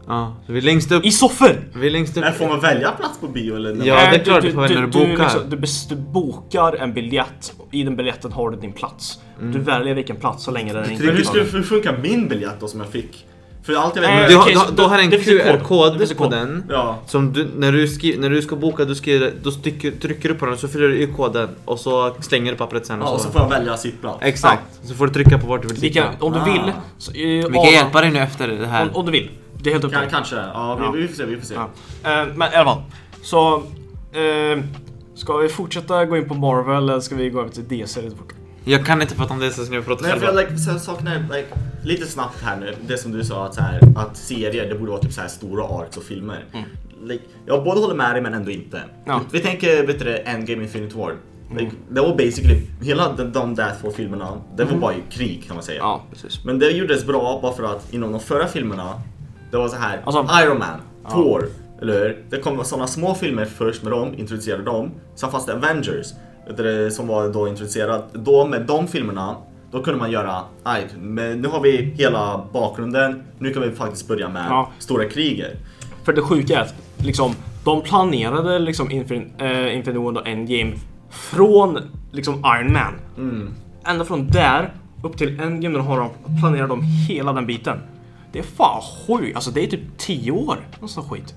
[SPEAKER 1] Ja, så vi är längst upp.
[SPEAKER 2] I soffor!
[SPEAKER 1] Vi är längst upp.
[SPEAKER 3] "Äh, får man välja plats på bio eller?
[SPEAKER 1] Ja,
[SPEAKER 2] Eh,
[SPEAKER 1] det är klart,
[SPEAKER 2] du,
[SPEAKER 1] det får vara
[SPEAKER 2] du,
[SPEAKER 1] när du
[SPEAKER 2] du,
[SPEAKER 1] bokar.
[SPEAKER 2] liksom- du, bes- du bokar en biljett, i den biljetten har du din plats. Du
[SPEAKER 1] Mm.
[SPEAKER 2] väljer vilken plats så länge den är
[SPEAKER 3] Hur skulle
[SPEAKER 2] inkluderad.
[SPEAKER 3] hur funkar min biljett då som jag fick? För allt jag vet
[SPEAKER 2] Äh,
[SPEAKER 1] Du
[SPEAKER 3] med...
[SPEAKER 1] har,
[SPEAKER 2] Okej,
[SPEAKER 1] du,
[SPEAKER 2] så
[SPEAKER 1] har- du har en
[SPEAKER 2] det finns en kod. Det
[SPEAKER 1] QR-kod
[SPEAKER 2] finns en
[SPEAKER 1] på
[SPEAKER 2] kod.
[SPEAKER 1] den.
[SPEAKER 3] Ja.
[SPEAKER 1] Som du, när, du skri, när du ska boka, du skriver, då stycker, trycker du på den så fyller du i koden och så slänger du pappret sen.
[SPEAKER 3] Ja, och så får jag välja sittplats.
[SPEAKER 1] Exakt. Så får du trycka på vart du vill
[SPEAKER 2] Vi
[SPEAKER 1] sitta.
[SPEAKER 2] kan, om du
[SPEAKER 3] Ah.
[SPEAKER 2] vill... Så, eh,
[SPEAKER 1] Vi kan
[SPEAKER 2] Adam-
[SPEAKER 1] hjälpa dig nu efter det här.
[SPEAKER 2] om, om du vill. Det är helt upp till
[SPEAKER 3] Kan,
[SPEAKER 2] dig.
[SPEAKER 3] kanske, ja, vi,
[SPEAKER 2] Ja.
[SPEAKER 3] vi får se, vi får se.
[SPEAKER 2] Ja. Eh, men i alla fall. Så... eh, ska vi fortsätta gå in på Marvel eller ska vi gå över till DC lite fort?
[SPEAKER 1] Jag kan inte prata om det så nu pratar
[SPEAKER 3] Nej, för jag
[SPEAKER 1] själva.
[SPEAKER 3] like, så- saknar like, lite snabbt här nu, det som du sa att, så här, att serier det borde vara typ så här stora arcs och filmer. Like, jag både håller med dig men ändå inte.
[SPEAKER 2] Mm. Ja. Mm.
[SPEAKER 3] Vi tänker vet du, det, Endgame Infinity War. Like, Det var basically, hela de, de där två filmerna, det var bara ju krig kan man säga.
[SPEAKER 2] Mm. Ja, precis.
[SPEAKER 3] Men det gjordes bra bara för att inom de förra filmerna, det var så här
[SPEAKER 2] Alltså-
[SPEAKER 3] Iron Man, Thor, eller hur? Det kom sådana små filmer först med dem, introducerade dem. Sen fanns det Avengers, vet du det, som var då introducerat. Då med de filmerna, då kunde man göra, aj, men nu har vi hela bakgrunden, nu kan vi faktiskt börja med
[SPEAKER 2] Ja.
[SPEAKER 3] stora kriget.
[SPEAKER 2] För det sjuka är att liksom, de planerade liksom Infin- eh, Infinity War och Endgame från liksom Iron Man.
[SPEAKER 1] Mm.
[SPEAKER 2] Ända från där upp till Endgame då har de planerat om hela den biten. Det är fan sjukt. Alltså det är typ 10 år. Någon sån skit.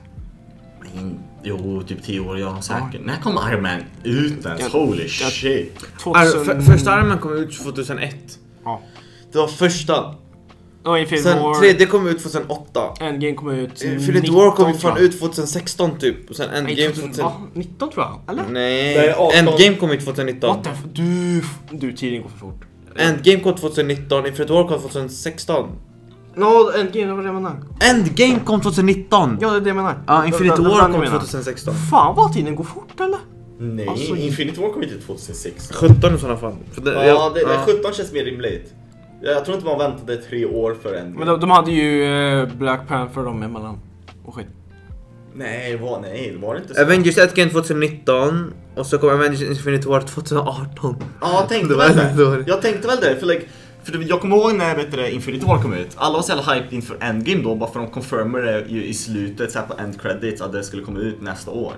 [SPEAKER 3] Mm, Jo, typ 10 år, jag är säker. När kom Iron Man ut ens? Holy shit!
[SPEAKER 1] Ar-
[SPEAKER 2] 2000...
[SPEAKER 1] för, första armen kom ut 2001.
[SPEAKER 2] Ja.
[SPEAKER 1] Det var första.
[SPEAKER 2] Och Infinity
[SPEAKER 1] Sen
[SPEAKER 2] War.
[SPEAKER 1] tredje kom ut 2008.
[SPEAKER 2] Endgame kom ut...
[SPEAKER 1] Infinity War kom ju
[SPEAKER 2] 19,
[SPEAKER 1] fan
[SPEAKER 2] tror jag.
[SPEAKER 1] ut 2016 typ. Och sen Endgame
[SPEAKER 2] Nej, Ah.
[SPEAKER 1] 2000...
[SPEAKER 2] va? 19 tror jag.
[SPEAKER 4] Mm.
[SPEAKER 2] Eller?
[SPEAKER 1] Nej,
[SPEAKER 3] Nej, 18.
[SPEAKER 1] Endgame kom ut
[SPEAKER 2] What
[SPEAKER 1] 2019.
[SPEAKER 2] the f- du, du, tiden går för fort.
[SPEAKER 1] Endgame kom 2019, Infinity War kom 2016.
[SPEAKER 2] Ja, Endgame, det var det jag menade.
[SPEAKER 1] Endgame kom 2019!
[SPEAKER 2] Ja, det är det jag menar.
[SPEAKER 1] Ja, Infinity
[SPEAKER 2] Den- den-
[SPEAKER 1] War
[SPEAKER 2] den
[SPEAKER 1] kom
[SPEAKER 2] jag menar.
[SPEAKER 1] 2016.
[SPEAKER 2] Fan vad tiden går fort eller?
[SPEAKER 3] Nej,
[SPEAKER 2] Alltså,
[SPEAKER 3] Infinity War kom inte ut 2006.
[SPEAKER 1] 17 i sådana fall. För det,
[SPEAKER 3] Ja, det,
[SPEAKER 1] ja.
[SPEAKER 3] det 17 känns mer rimligt. Jag, jag tror inte man väntade tre år för en.
[SPEAKER 2] Men de, de hade ju eh, Black Panther dem emellan. Och skit.
[SPEAKER 3] Nej, var, nej, det var det inte så.
[SPEAKER 1] Avengers 1 kom 2019 och så kom Avengers Infinity War 2018.
[SPEAKER 3] Ja, jag tänkte
[SPEAKER 1] Det var
[SPEAKER 3] väl
[SPEAKER 1] väldigt
[SPEAKER 3] det.
[SPEAKER 1] dåligt.
[SPEAKER 3] Jag tänkte väl det, för, like, för det- jag kommer ihåg när vet du, det, Infinity War kom ut. Alla var så jävla hyped inför Endgame då, bara för de confirmade det ju i slutet så här på end credits att det skulle komma ut nästa år.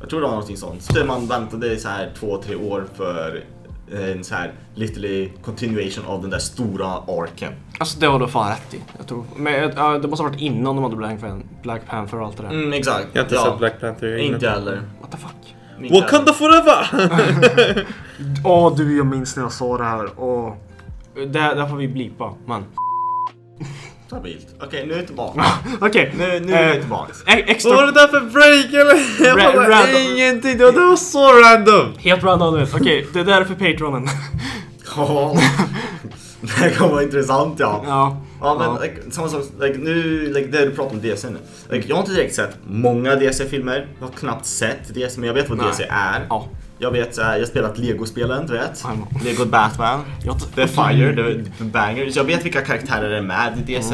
[SPEAKER 3] Jag tror det var någonting sånt. Så man väntade i så här två, tre år för en så här literally continuation av den där stora arken.
[SPEAKER 2] Alltså det har du fan rätt i. Jag tror. Men eh, det måste ha varit innan de hade Black, Pan- Black Panther och allt det där.
[SPEAKER 3] Mm, exakt.
[SPEAKER 1] Jag har inte sett Black Panther.
[SPEAKER 3] Inte jag heller.
[SPEAKER 2] What the fuck?
[SPEAKER 3] Inte heller.
[SPEAKER 1] Wakanda forever!
[SPEAKER 4] Åh du, jag minns när jag sa det här. Åh.
[SPEAKER 2] Det, där får vi blipa, man.
[SPEAKER 3] Stabilt. Okej, nu är vi tillbaka.
[SPEAKER 2] Okej.
[SPEAKER 3] Nu, nu är vi
[SPEAKER 2] Eh,
[SPEAKER 3] tillbaka.
[SPEAKER 2] e-
[SPEAKER 1] Vad var
[SPEAKER 2] Extra...
[SPEAKER 1] det där för break eller? Jag
[SPEAKER 2] Ra-
[SPEAKER 1] fattar
[SPEAKER 2] random.
[SPEAKER 1] ingenting, det var, det var så random!
[SPEAKER 2] Helt random. vet. Okej, det där är för Patronen.
[SPEAKER 3] Ja. Det här kommer vara intressant ja.
[SPEAKER 2] ja.
[SPEAKER 3] Ja men like, samma sak, like, nu, like, det du pratar om DC nu. Like, jag har inte direkt sett många DC-filmer, jag har knappt sett DC men jag vet vad
[SPEAKER 2] Nej.
[SPEAKER 3] DC är.
[SPEAKER 2] Ja.
[SPEAKER 3] Jag vet, så här, jag har spelat Lego-spelen du vet.
[SPEAKER 2] Ja, ja.
[SPEAKER 3] Lego Batman,
[SPEAKER 2] Jag
[SPEAKER 3] The Fire, The, the Banger. Så jag vet vilka karaktärer det är med i DC.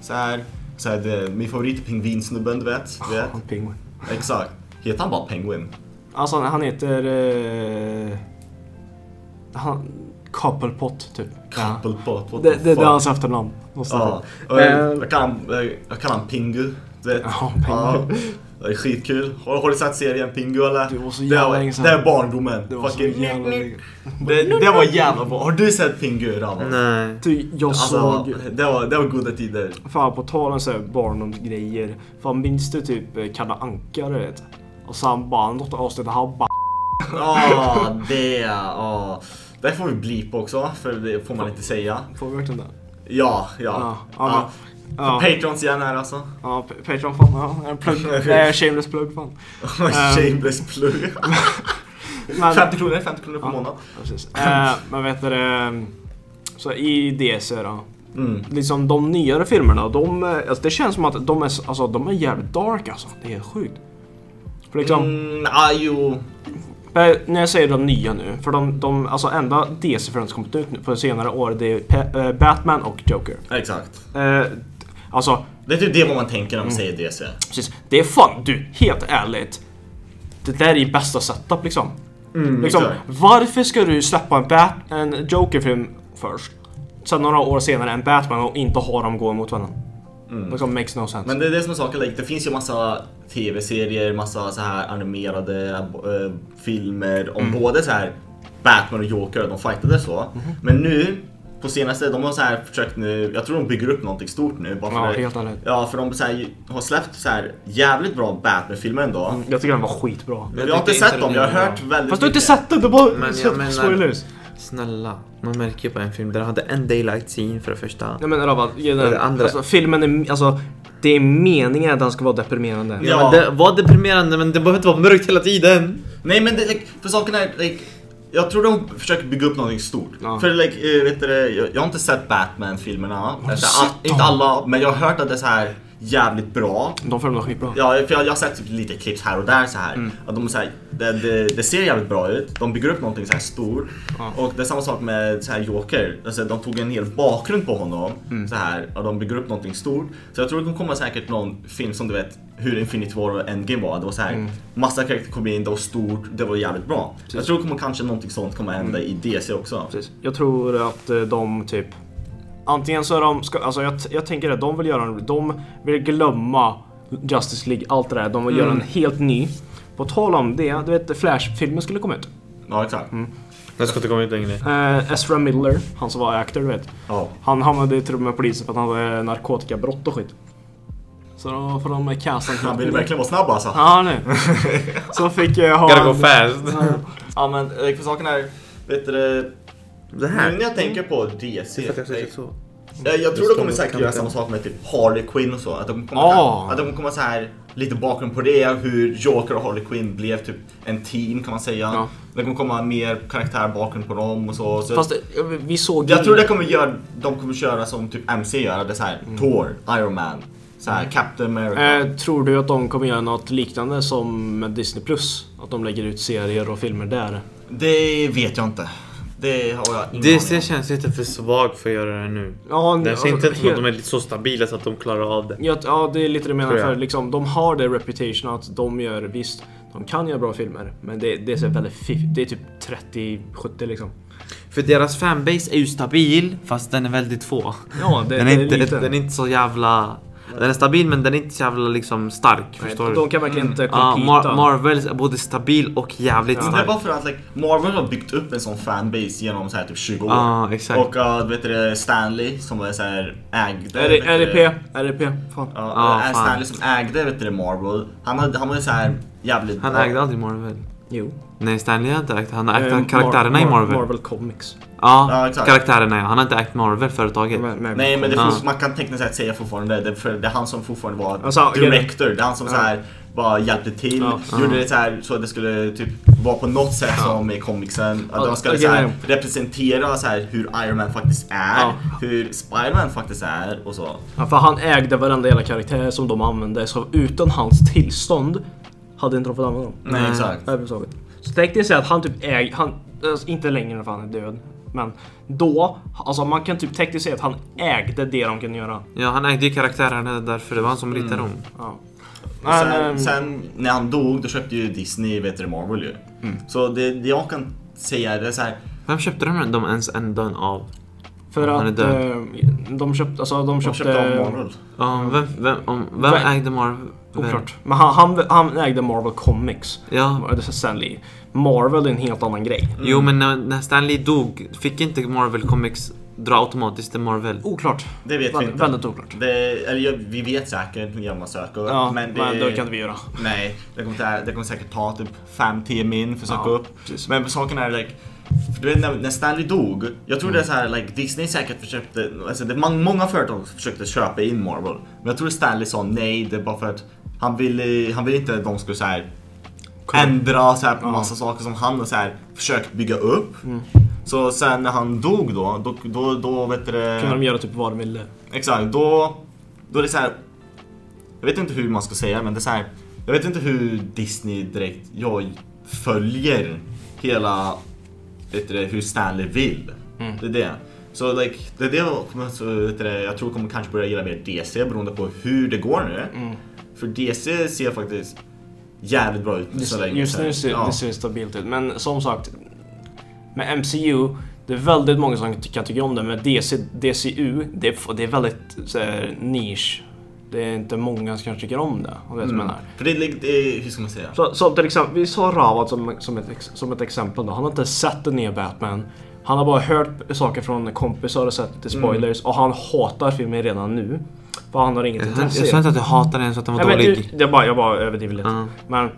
[SPEAKER 3] Så här, så här, det, min favorit är pingvinsnubben du vet. Du vet.
[SPEAKER 2] Han Penguin.
[SPEAKER 3] Exakt. Heter han bara Penguin?
[SPEAKER 2] Alltså han heter... Eh, han, Couplepot typ. Ja.
[SPEAKER 3] Couple Pot, what
[SPEAKER 2] Det,
[SPEAKER 3] the
[SPEAKER 2] det, det
[SPEAKER 3] fuck?
[SPEAKER 2] är hans efternamn. Måste jag
[SPEAKER 3] Ja,
[SPEAKER 2] säga.
[SPEAKER 3] och jag,
[SPEAKER 2] Eh.
[SPEAKER 3] jag kallar han- jag- jag kallar han Pingu. Du vet.
[SPEAKER 2] Ja, Pingu.
[SPEAKER 3] det är skitkul. Har, har du sett serien Pingu eller?
[SPEAKER 2] Det var så jävla länge sedan.
[SPEAKER 3] Det är barndomen.
[SPEAKER 2] Det var så
[SPEAKER 3] Fucking-
[SPEAKER 2] jävla länge.
[SPEAKER 3] det, det var jävla bra. Har du sett Pingu grabbar?
[SPEAKER 2] Mm.
[SPEAKER 1] Nej.
[SPEAKER 2] Du, Typ, jag
[SPEAKER 3] Alltså,
[SPEAKER 2] såg...
[SPEAKER 3] det var, det var goda tider.
[SPEAKER 2] Fan på tal om så här barndomsgrejer. Fan minns du typ eh, Kalle Anka du vet? Och sen bara något avsnitt där han bara...
[SPEAKER 3] Ja, det. Oh. Det får vi blipa också, för det får man inte säga.
[SPEAKER 2] Får vi verkligen det?
[SPEAKER 3] Ja, ja.
[SPEAKER 2] Ja,
[SPEAKER 3] ja.
[SPEAKER 2] ja, Ja,
[SPEAKER 3] Patrons igen här alltså.
[SPEAKER 2] ja P- Patreon fan. Ja, en plug. Nej, shameless plug fan.
[SPEAKER 3] Shameless plug.
[SPEAKER 2] Men,
[SPEAKER 3] 50 kronor, 50 kronor per
[SPEAKER 2] Ja.
[SPEAKER 3] månad.
[SPEAKER 2] Ja, precis. Eh, men vet du det, Så i DC då.
[SPEAKER 3] Mm.
[SPEAKER 2] Liksom de nyare filmerna, de, eh, alltså, det känns som att de är, s- alltså, de är jävligt dark alltså. Det är helt sjukt. För liksom,
[SPEAKER 3] Mm, ah, jo. Mm.
[SPEAKER 2] eh, när jag säger de nya nu, för de, de alltså enda DC-filmen som kommit ut nu på senare år det är Pe- eh, Batman och Joker.
[SPEAKER 3] Exakt.
[SPEAKER 2] Eh, alltså,
[SPEAKER 3] Det är typ det vad man tänker när
[SPEAKER 2] Mm.
[SPEAKER 3] man säger DC.
[SPEAKER 2] precis. Det är fan du, helt ärligt. Det där är ju bästa setup liksom. Liksom,
[SPEAKER 3] Mm, exakt.
[SPEAKER 2] varför ska du släppa en, Bat- en Joker-film först? Sen några år senare en Batman och inte ha dem gå mot varandra. Liksom makes no sense.
[SPEAKER 3] Mm. Men det är det som är saken, like, det finns ju massa tv-serier, massa så här animerade eh, filmer
[SPEAKER 2] Mm.
[SPEAKER 3] om både så här Batman och Joker, de fightade så.
[SPEAKER 2] Mhm.
[SPEAKER 3] Men nu, på senaste, de har så här försökt nu, jag tror de bygger upp någonting stort nu. Bara för
[SPEAKER 2] Ja,
[SPEAKER 3] det-
[SPEAKER 2] helt ärligt.
[SPEAKER 3] Ja, för de så här, har släppt så här jävligt bra Batman-filmer ändå.
[SPEAKER 2] Jag tycker den var skitbra.
[SPEAKER 3] Jag, har inte
[SPEAKER 1] tycker
[SPEAKER 3] sett dem, jag har
[SPEAKER 1] den är
[SPEAKER 3] hört
[SPEAKER 1] bra.
[SPEAKER 3] väldigt
[SPEAKER 2] Fast du har inte
[SPEAKER 3] mycket.
[SPEAKER 2] sett den, du bara
[SPEAKER 1] jag
[SPEAKER 2] sett
[SPEAKER 1] menar-
[SPEAKER 2] spoilers.
[SPEAKER 1] Snälla, man märker ju på en film där de hade en daylight scene för det första.
[SPEAKER 2] Nej men Rabban, ge
[SPEAKER 1] Det är
[SPEAKER 2] den.
[SPEAKER 1] det andra.
[SPEAKER 2] Alltså, filmen är, alltså, det är meningen att den ska vara deprimerande.
[SPEAKER 1] Ja, men det var deprimerande men det behöver inte vara mörkt hela tiden.
[SPEAKER 3] Nej men det, like, för saken är, like, jag tror de försöker bygga upp någonting stort.
[SPEAKER 2] Ja.
[SPEAKER 3] För like, eh, vet du, det, jag, jag har inte sett Batman-filmerna. Alltså,
[SPEAKER 2] sett
[SPEAKER 3] all, inte alla, men jag har hört att det är så här jävligt bra.
[SPEAKER 2] De filmerna var skitbra.
[SPEAKER 3] Ja, för jag, jag har sett typ lite klipp här och där så här. Att de är så här det, det, det ser jävligt bra ut, de bygger upp någonting så här stort. Och det är samma sak med så här Joker, alltså, de tog en hel bakgrund på honom. Så här, och de bygger upp någonting stort. Så jag tror att de kommer säkert någon film som du vet hur Infinity War och Endgame var. Det var så här, massa karaktärer kom in, det var stort, det var jävligt bra. Jag tror att det kommer kanske någonting sånt kommer hända i DC också.
[SPEAKER 2] Precis. Jag tror att eh, de typ Antingen så är de, ska, alltså jag, t- jag tänker att de vill göra en, de vill glömma Justice League, allt det där. De vill göra en helt ny. På tal om det, du vet Flash-filmen skulle komma ut.
[SPEAKER 3] Ja, exakt.
[SPEAKER 1] Den ska inte komma ut längre.
[SPEAKER 2] Eh, Ezra Miller, han som var actor du vet.
[SPEAKER 3] Ja.
[SPEAKER 2] Han hamnade i trubbel med polisen för att han hade narkotikabrott och skit. Så då får de casta en
[SPEAKER 3] Han vill verkligen vara snabb alltså.
[SPEAKER 2] Ja nu. Så fick jag ha...
[SPEAKER 1] Gotta go
[SPEAKER 2] en-
[SPEAKER 1] fast.
[SPEAKER 3] Ja men eh, för saken är, vet du, det-
[SPEAKER 1] Det
[SPEAKER 3] nu
[SPEAKER 1] här.
[SPEAKER 3] när jag tänker på DC.
[SPEAKER 1] För att jag ska
[SPEAKER 3] eh,
[SPEAKER 1] se så.
[SPEAKER 3] Jag, jag tror de kommer
[SPEAKER 1] Just
[SPEAKER 3] säkert
[SPEAKER 1] det,
[SPEAKER 3] göra
[SPEAKER 1] kan
[SPEAKER 3] samma
[SPEAKER 1] inte.
[SPEAKER 3] sak med typ Harley Quinn och så. Att de kommer,
[SPEAKER 2] Ah.
[SPEAKER 3] att de kommer så här lite bakgrund på det, hur Joker och Harley Quinn blev typ en team kan man säga.
[SPEAKER 2] Ja.
[SPEAKER 3] Det kommer komma mer karaktär bakgrund på dem och så. så
[SPEAKER 2] Fast eh, vi såg ju-
[SPEAKER 3] jag tror det kommer göra, de kommer köra som typ MC gör, att det är så här Thor, Iron Man, så här Captain America.
[SPEAKER 2] Eh, tror du att de kommer göra något liknande som med Disney Plus? Att de lägger ut serier och filmer där?
[SPEAKER 3] Det vet jag inte. Det har jag ingen aning
[SPEAKER 1] DC
[SPEAKER 3] om.
[SPEAKER 1] känns lite för svag för att göra det nu.
[SPEAKER 2] Ja,
[SPEAKER 1] Den ser inte ut som att
[SPEAKER 2] helt-
[SPEAKER 1] de är lite så stabila så att de klarar av det.
[SPEAKER 2] Ja, ja, det är lite det jag menar.
[SPEAKER 1] Tror jag.
[SPEAKER 2] För liksom, de har det reputation att de gör, visst, de kan göra bra filmer. Men det, det är så väldigt fiff- Det är typ 30-70 liksom.
[SPEAKER 1] För deras fanbase är ju stabil fast den är väldigt få.
[SPEAKER 2] Ja, det,
[SPEAKER 1] Den
[SPEAKER 2] det
[SPEAKER 1] är,
[SPEAKER 2] är
[SPEAKER 1] inte,
[SPEAKER 2] liten.
[SPEAKER 1] den är inte så jävla... Den är stabil men den är inte så jävla liksom stark. förstår
[SPEAKER 2] Nej,
[SPEAKER 1] du?
[SPEAKER 2] de kan verkligen inte
[SPEAKER 1] Ja,
[SPEAKER 2] competa.
[SPEAKER 1] Mm. Ah, Mar- Marvel är både stabil och jävligt
[SPEAKER 3] Men Det är
[SPEAKER 1] stark.
[SPEAKER 3] bara för att like, Marvel har byggt upp en sån fanbase genom så här typ 20 år.
[SPEAKER 1] Ja, Ah, exakt.
[SPEAKER 3] Och uh, vet du, det, Stanley som är så här ägde...
[SPEAKER 2] R-
[SPEAKER 3] vet du det.
[SPEAKER 2] RIP, RIP, fan.
[SPEAKER 3] Ja,
[SPEAKER 1] Ah,
[SPEAKER 3] Ann
[SPEAKER 1] fan.
[SPEAKER 3] Stanley som ägde vet du, det, Marvel, han, hade, han var ju såhär jävligt
[SPEAKER 1] Han
[SPEAKER 3] bra.
[SPEAKER 1] ägde aldrig Marvel.
[SPEAKER 2] Jo.
[SPEAKER 1] Nej, Stanley har inte ägt. Han har ägt
[SPEAKER 2] Eh,
[SPEAKER 1] karaktärerna
[SPEAKER 2] Mar-
[SPEAKER 1] i Marvel.
[SPEAKER 2] Marvel Comics.
[SPEAKER 1] Ja,
[SPEAKER 3] Ja, exakt.
[SPEAKER 1] karaktärerna ja. Han har inte ägt Marvel, företaget.
[SPEAKER 2] Med- med-
[SPEAKER 3] Nej men det
[SPEAKER 1] Ja.
[SPEAKER 3] finns, man kan tekniskt sett säga fortfarande det, för det är han som fortfarande var
[SPEAKER 2] Alltså,
[SPEAKER 3] director. Det är han som
[SPEAKER 2] Ja.
[SPEAKER 3] så här bara hjälpte till,
[SPEAKER 2] Ja.
[SPEAKER 3] gjorde det så här så att det skulle typ vara på något sätt som i comicsen. Att
[SPEAKER 2] Ja,
[SPEAKER 3] de skulle
[SPEAKER 2] okej,
[SPEAKER 3] så här,
[SPEAKER 2] nej.
[SPEAKER 3] representera så här, hur Iron Man faktiskt är,
[SPEAKER 2] Ja.
[SPEAKER 3] hur Spiderman faktiskt är och så.
[SPEAKER 2] Ja, för han ägde varenda jävla karaktär som de använde, så utan hans tillstånd hade inte de fått använda dem.
[SPEAKER 3] Nej,
[SPEAKER 1] Nej.
[SPEAKER 3] exakt.
[SPEAKER 2] Överhuvudtaget. Så tänkte jag säga att han typ äger, han, alltså, inte längre för han är död, men då, alltså man kan typ tekniskt säga att han ägde det de kunde göra.
[SPEAKER 1] Ja, han ägde ju karaktärerna därför det var han som ritade
[SPEAKER 2] Mm.
[SPEAKER 1] dem.
[SPEAKER 2] Ja.
[SPEAKER 3] Och sen,
[SPEAKER 2] Men,
[SPEAKER 3] sen när han dog då köpte ju Disney vet du, Marvel ju. Så det, det jag kan säga det är så här,
[SPEAKER 1] Vem köpte de dem ens änden av?
[SPEAKER 2] för
[SPEAKER 1] han är
[SPEAKER 2] att
[SPEAKER 1] död.
[SPEAKER 2] eh, de köpte, alltså de
[SPEAKER 3] de
[SPEAKER 2] köpte...
[SPEAKER 3] köpte av Marvel.
[SPEAKER 1] Ja, vem, vem, om, vem
[SPEAKER 2] Mm. Vem?
[SPEAKER 1] ägde Marvel?
[SPEAKER 2] Oklart. Mm. Men han, han, han ägde Marvel Comics.
[SPEAKER 1] Ja.
[SPEAKER 2] Det är Stanley. Marvel är en helt annan grej.
[SPEAKER 1] Jo, men när, när Stanley dog, fick inte Marvel Comics dra automatiskt till
[SPEAKER 2] Oh,
[SPEAKER 1] Marvel?
[SPEAKER 2] Oklart.
[SPEAKER 3] Det vet vi
[SPEAKER 2] Väldigt,
[SPEAKER 3] inte.
[SPEAKER 2] väldigt oklart.
[SPEAKER 3] Det, eller ja, vi vet säkert genom att söka
[SPEAKER 2] Ja,
[SPEAKER 3] men det,
[SPEAKER 2] men det kan inte vi göra.
[SPEAKER 3] Nej, det kommer, inte- det kommer säkert ta typ 5-10 min för att söka
[SPEAKER 2] Ja,
[SPEAKER 3] upp.
[SPEAKER 2] precis.
[SPEAKER 3] Men saken är like, för du vet när, när Stanley dog, jag tror det är
[SPEAKER 2] Mm.
[SPEAKER 3] så här, like, Disney säkert försökte, alltså det, man, många företag försökte köpa in Marvel. Men jag tror Stanley sa nej, det är bara för att han ville, han ville inte att de skulle så här, ändra så här, på massa saker som han har så här, försökt bygga upp.
[SPEAKER 2] Mm.
[SPEAKER 3] Så sen när han dog då, då, då, då vet du det-
[SPEAKER 2] Kunde de göra typ vad de ville.
[SPEAKER 3] Exakt, då, då är det så här. Jag vet inte hur man ska säga men det är så här. Jag vet inte hur Disney direkt, jag följer hela, vet du, det, hur Stanley vill. Det är det. Så like, det är det jag, kommer, så, vet du, det, jag tror kommer kanske börja gilla mer DC beroende på hur det går nu. För DC ser faktiskt jävligt bra ut så länge.
[SPEAKER 2] Just
[SPEAKER 3] så här.
[SPEAKER 2] nu ser
[SPEAKER 3] ja.
[SPEAKER 2] det ser stabilt ut, men som sagt. Med MCU, det är väldigt många som kan tycka om det, men DC, DCU, det är, det är väldigt så här, nisch. Det är inte många som kanske tycker om det, om du vet vad jag menar.
[SPEAKER 3] För det är, like- det är, hur ska man säga?
[SPEAKER 2] Så, så till exempel, vi sa Ravat som, som, ett, ex- som ett exempel då. Han har inte sett den nya Batman. Han har bara hört saker från kompisar och sett lite spoilers och han hatar filmen redan nu. För han har inget
[SPEAKER 1] Jag, jag
[SPEAKER 2] intresse.
[SPEAKER 1] sa inte att jag hatade den så att den var
[SPEAKER 2] Nej, men,
[SPEAKER 1] dålig.
[SPEAKER 2] det- det bara, jag bara överdriver lite.
[SPEAKER 1] Ja.
[SPEAKER 2] Men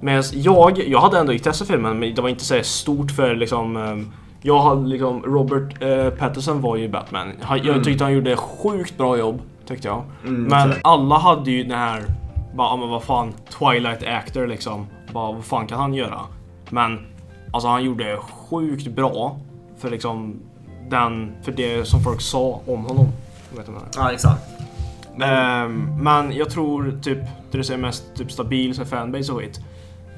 [SPEAKER 2] medan jag, jag hade ändå intresse för filmen men det var inte så här stort för liksom ehm, jag hade liksom, Robert eh, Patterson var ju Batman. Han,
[SPEAKER 1] Mm.
[SPEAKER 2] jag tyckte han gjorde sjukt bra jobb, tyckte jag. men alla hade ju den här, bara, "Ah, men vad fan, Twilight actor liksom. Bara, vad fan kan han göra? Men alltså han gjorde sjukt bra för liksom den, för det som folk sa om honom. Jag vet inte vad det är.
[SPEAKER 3] Ja exakt.
[SPEAKER 2] Ehm, men jag tror typ, det du säger mest typ stabil så här fanbase och skit.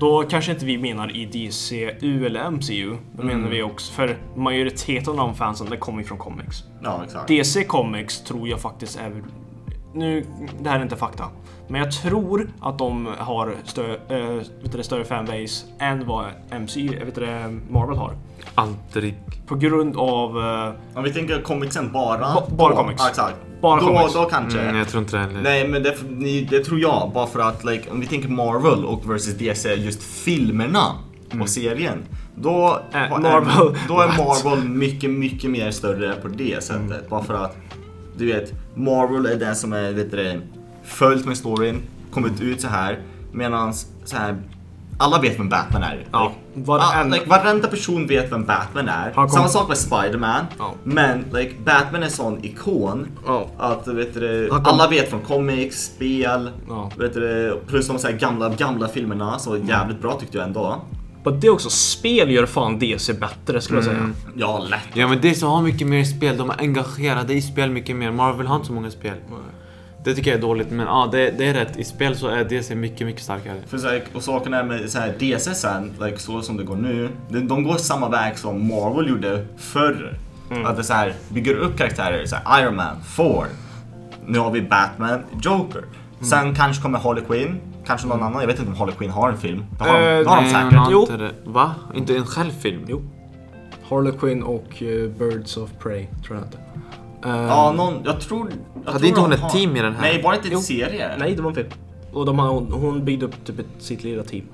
[SPEAKER 2] Då kanske inte vi menar i DCU eller MCU. Då
[SPEAKER 3] Mm.
[SPEAKER 2] menar vi också, för majoriteten av de fansen det kommer ju från comics.
[SPEAKER 3] Ja exakt.
[SPEAKER 2] DC Comics tror jag faktiskt är... Nu, det här är inte fakta. Men jag tror att de har stö, eh, vet du, det, större fanbase än vad MCU, vet du, det, Marvel har.
[SPEAKER 1] Aldrig. Mm,
[SPEAKER 2] På grund av... eh,
[SPEAKER 3] Om vi tänker comicsen bara.
[SPEAKER 2] Ba- bara
[SPEAKER 3] då-
[SPEAKER 2] comics.
[SPEAKER 3] Ja, exakt.
[SPEAKER 2] Bara
[SPEAKER 3] då,
[SPEAKER 2] comics.
[SPEAKER 3] Då kanske.
[SPEAKER 1] Mm, jag tror inte det heller.
[SPEAKER 3] Nej men det, ni- det tror jag, bara för att like, om vi tänker Marvel och versus DC, just filmerna och serien. Då,
[SPEAKER 2] Mm. Äh,
[SPEAKER 3] har-
[SPEAKER 2] Marvel.
[SPEAKER 3] är, då är
[SPEAKER 2] What? Mm.
[SPEAKER 3] Marvel mycket, mycket mer större på det sättet. Bara för att, du vet, Marvel är den som är vet du, det, följt med storyn, kommit ut så här. Medan så här, alla vet vem Batman är.
[SPEAKER 2] Ja, varenda-
[SPEAKER 3] Ah, like, varenda person vet vem Batman är.
[SPEAKER 2] kom-
[SPEAKER 3] Samma sak med Spiderman.
[SPEAKER 2] Ja.
[SPEAKER 3] Men like, Batman är en sån ikon
[SPEAKER 2] Ja.
[SPEAKER 3] att vet du, det,
[SPEAKER 2] Han kom-
[SPEAKER 3] alla vet från comics, spel,
[SPEAKER 2] Ja.
[SPEAKER 3] vet du, det, plus de så här gamla, gamla filmerna så jävligt bra tyckte jag ändå.
[SPEAKER 2] men det är också, spel gör fan DC bättre skulle
[SPEAKER 3] Mm.
[SPEAKER 2] jag säga.
[SPEAKER 3] Ja, lätt.
[SPEAKER 1] Ja men DC har mycket mer spel, de är engagerade i spel mycket mer. Marvel har inte så många spel. Det tycker jag är dåligt men ja, det, det är rätt. I spel så är DC mycket, mycket starkare.
[SPEAKER 3] För så här, och saken är med så här, DC sen, like, så som det går nu, de, de går samma väg som Marvel gjorde förr.
[SPEAKER 1] Mm.
[SPEAKER 3] Att det så här, bygger upp karaktärer, så här, Iron Man, Thor, nu har vi Batman, Joker.
[SPEAKER 1] Mm.
[SPEAKER 3] Sen kanske kommer Harley Quinn, kanske någon annan, jag vet inte om Harley Quinn har en film. Det har,
[SPEAKER 2] Eh,
[SPEAKER 3] de, det har de
[SPEAKER 1] Nej,
[SPEAKER 3] säkert.
[SPEAKER 1] han har
[SPEAKER 2] Jo.
[SPEAKER 1] Inte det. Va? Inte en självfilm?
[SPEAKER 2] Jo. Harley Quinn och eh, Birds of Prey, tror jag inte.
[SPEAKER 3] Ja, någon, jag tror... Jag
[SPEAKER 1] Hade
[SPEAKER 3] tror
[SPEAKER 1] inte hon
[SPEAKER 3] de
[SPEAKER 1] ett
[SPEAKER 3] har-
[SPEAKER 1] team i den här?
[SPEAKER 3] Nej, var det inte
[SPEAKER 2] Jo.
[SPEAKER 3] en serie?
[SPEAKER 2] Nej, det var en film. Och de har, hon, hon byggde upp typ ett, sitt lilla team.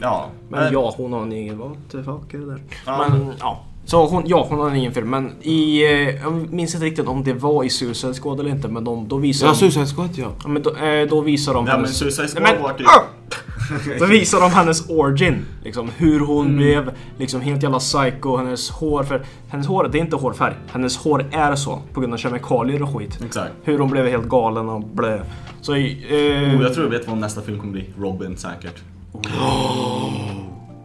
[SPEAKER 3] Ja.
[SPEAKER 2] Men ja, hon har en egen... What the fuck är det där?
[SPEAKER 3] Eh. Ja.
[SPEAKER 2] Men ja. Så hon, ja, hon har en egen film. Men i... Eh, jag minns inte riktigt om det var i Suicide Squad eller inte, men de, då visar
[SPEAKER 1] Ja,
[SPEAKER 2] de...
[SPEAKER 1] Suicide Squad ja.
[SPEAKER 2] Ja, men då, eh, då visar de...
[SPEAKER 3] Ja men
[SPEAKER 2] hennes-
[SPEAKER 3] Suicide Squad
[SPEAKER 2] Nej, men-
[SPEAKER 3] var typ...
[SPEAKER 2] Ah! Då visar de hennes origin. Liksom, hur hon
[SPEAKER 3] Mm.
[SPEAKER 2] blev liksom, helt jävla psycho. Hennes hår, för hennes hår det är inte hårfärg. Hennes hår är så på grund av kemikalier och skit.
[SPEAKER 3] Exakt.
[SPEAKER 2] Hur hon blev helt galen och blö. Så,
[SPEAKER 1] Mm.
[SPEAKER 2] eh,
[SPEAKER 3] Oh, jag tror jag vet vad nästa film kommer bli. Robin säkert.
[SPEAKER 1] Oh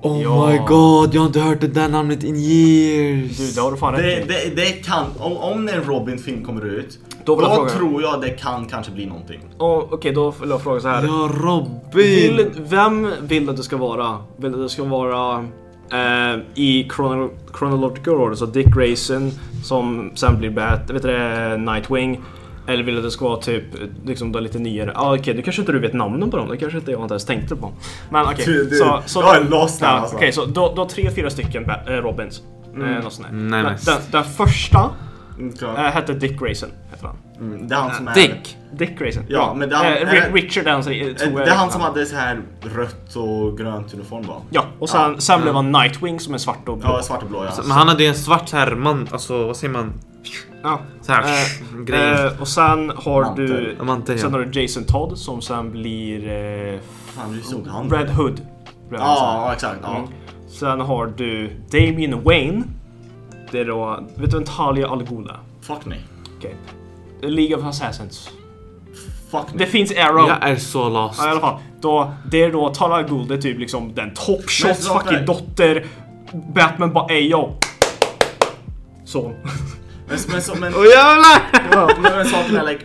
[SPEAKER 2] Ja.
[SPEAKER 1] my god, jag har inte hört det där namnet in years.
[SPEAKER 2] du, det har du fan
[SPEAKER 3] Det,
[SPEAKER 2] rätt i.
[SPEAKER 3] det, det kan, om, om en Robin-film kommer ut,
[SPEAKER 2] Då
[SPEAKER 3] då,
[SPEAKER 2] vill jag fråga.
[SPEAKER 3] tror jag det kan kanske bli någonting.
[SPEAKER 2] Och, Okej, då vill jag fråga så här.
[SPEAKER 1] Ja,
[SPEAKER 2] Vill,
[SPEAKER 1] Robin.
[SPEAKER 2] vem vill att det ska vara? Vill att det ska vara eh, i chrono, chronological order, så Dick Grayson som sen blir Bat, vet du det, Nightwing. Eller vill att det ska vara typ liksom då lite nyare. Ah, Okej, nu kanske inte du vet namnen på dem. Det kanske inte jag inte ens tänkte på. Men okej.
[SPEAKER 3] Du- du-
[SPEAKER 2] så, så
[SPEAKER 3] jag är lost här,
[SPEAKER 2] ja,
[SPEAKER 3] alltså.
[SPEAKER 2] Okej, så då, då tre, fyra stycken Ba- eh, Robins. Eh, något sånt där.
[SPEAKER 1] Nej,
[SPEAKER 2] Men
[SPEAKER 1] nice.
[SPEAKER 2] den, den första eh,
[SPEAKER 3] Mm,
[SPEAKER 2] hette Dick Grayson. Heter han.
[SPEAKER 3] det är han som är...
[SPEAKER 1] Dick.
[SPEAKER 2] Dick Grayson.
[SPEAKER 3] Ja, men den-
[SPEAKER 2] eh, Ri-
[SPEAKER 3] eh,
[SPEAKER 2] Richard är hans eh,
[SPEAKER 3] Eh,
[SPEAKER 2] tror jag
[SPEAKER 3] Det är han
[SPEAKER 2] heter.
[SPEAKER 3] som hade så här rött och grönt uniform va?
[SPEAKER 2] Ja, och sen, sen blev han Nightwing som är svart och blå.
[SPEAKER 3] Ja, svart och blå ja.
[SPEAKER 1] Men han hade ju en svart här man, alltså vad säger man?
[SPEAKER 2] Ja.
[SPEAKER 1] Så här,
[SPEAKER 2] Eh,
[SPEAKER 1] grej.
[SPEAKER 2] eh, och sen har
[SPEAKER 3] Mantel.
[SPEAKER 2] du
[SPEAKER 1] Ja, mantel,
[SPEAKER 2] sen
[SPEAKER 1] ja.
[SPEAKER 2] har du Jason Todd som sen blir eh,
[SPEAKER 3] Fan, hur såg han?
[SPEAKER 2] Red Hood. Blev han sen.
[SPEAKER 3] Ja, exakt. Ja.
[SPEAKER 2] Mm. Sen har du Damien Wayne. Det är då, vet du vem Talia Al Ghul är?
[SPEAKER 3] Fuck nej.
[SPEAKER 2] Okej. League of Assassins.
[SPEAKER 3] Fuck
[SPEAKER 2] Det
[SPEAKER 3] nej.
[SPEAKER 2] finns Arrow.
[SPEAKER 1] Jag är så lost.
[SPEAKER 2] Ja, i alla fall. Då, det är då Talia Al Ghul, det är typ liksom den top shots
[SPEAKER 3] vänta.
[SPEAKER 2] fucking dotter. Batman bara ey yo. Så.
[SPEAKER 3] Men, men, så- men,
[SPEAKER 1] Åh jävlar!
[SPEAKER 3] men, men saken är like,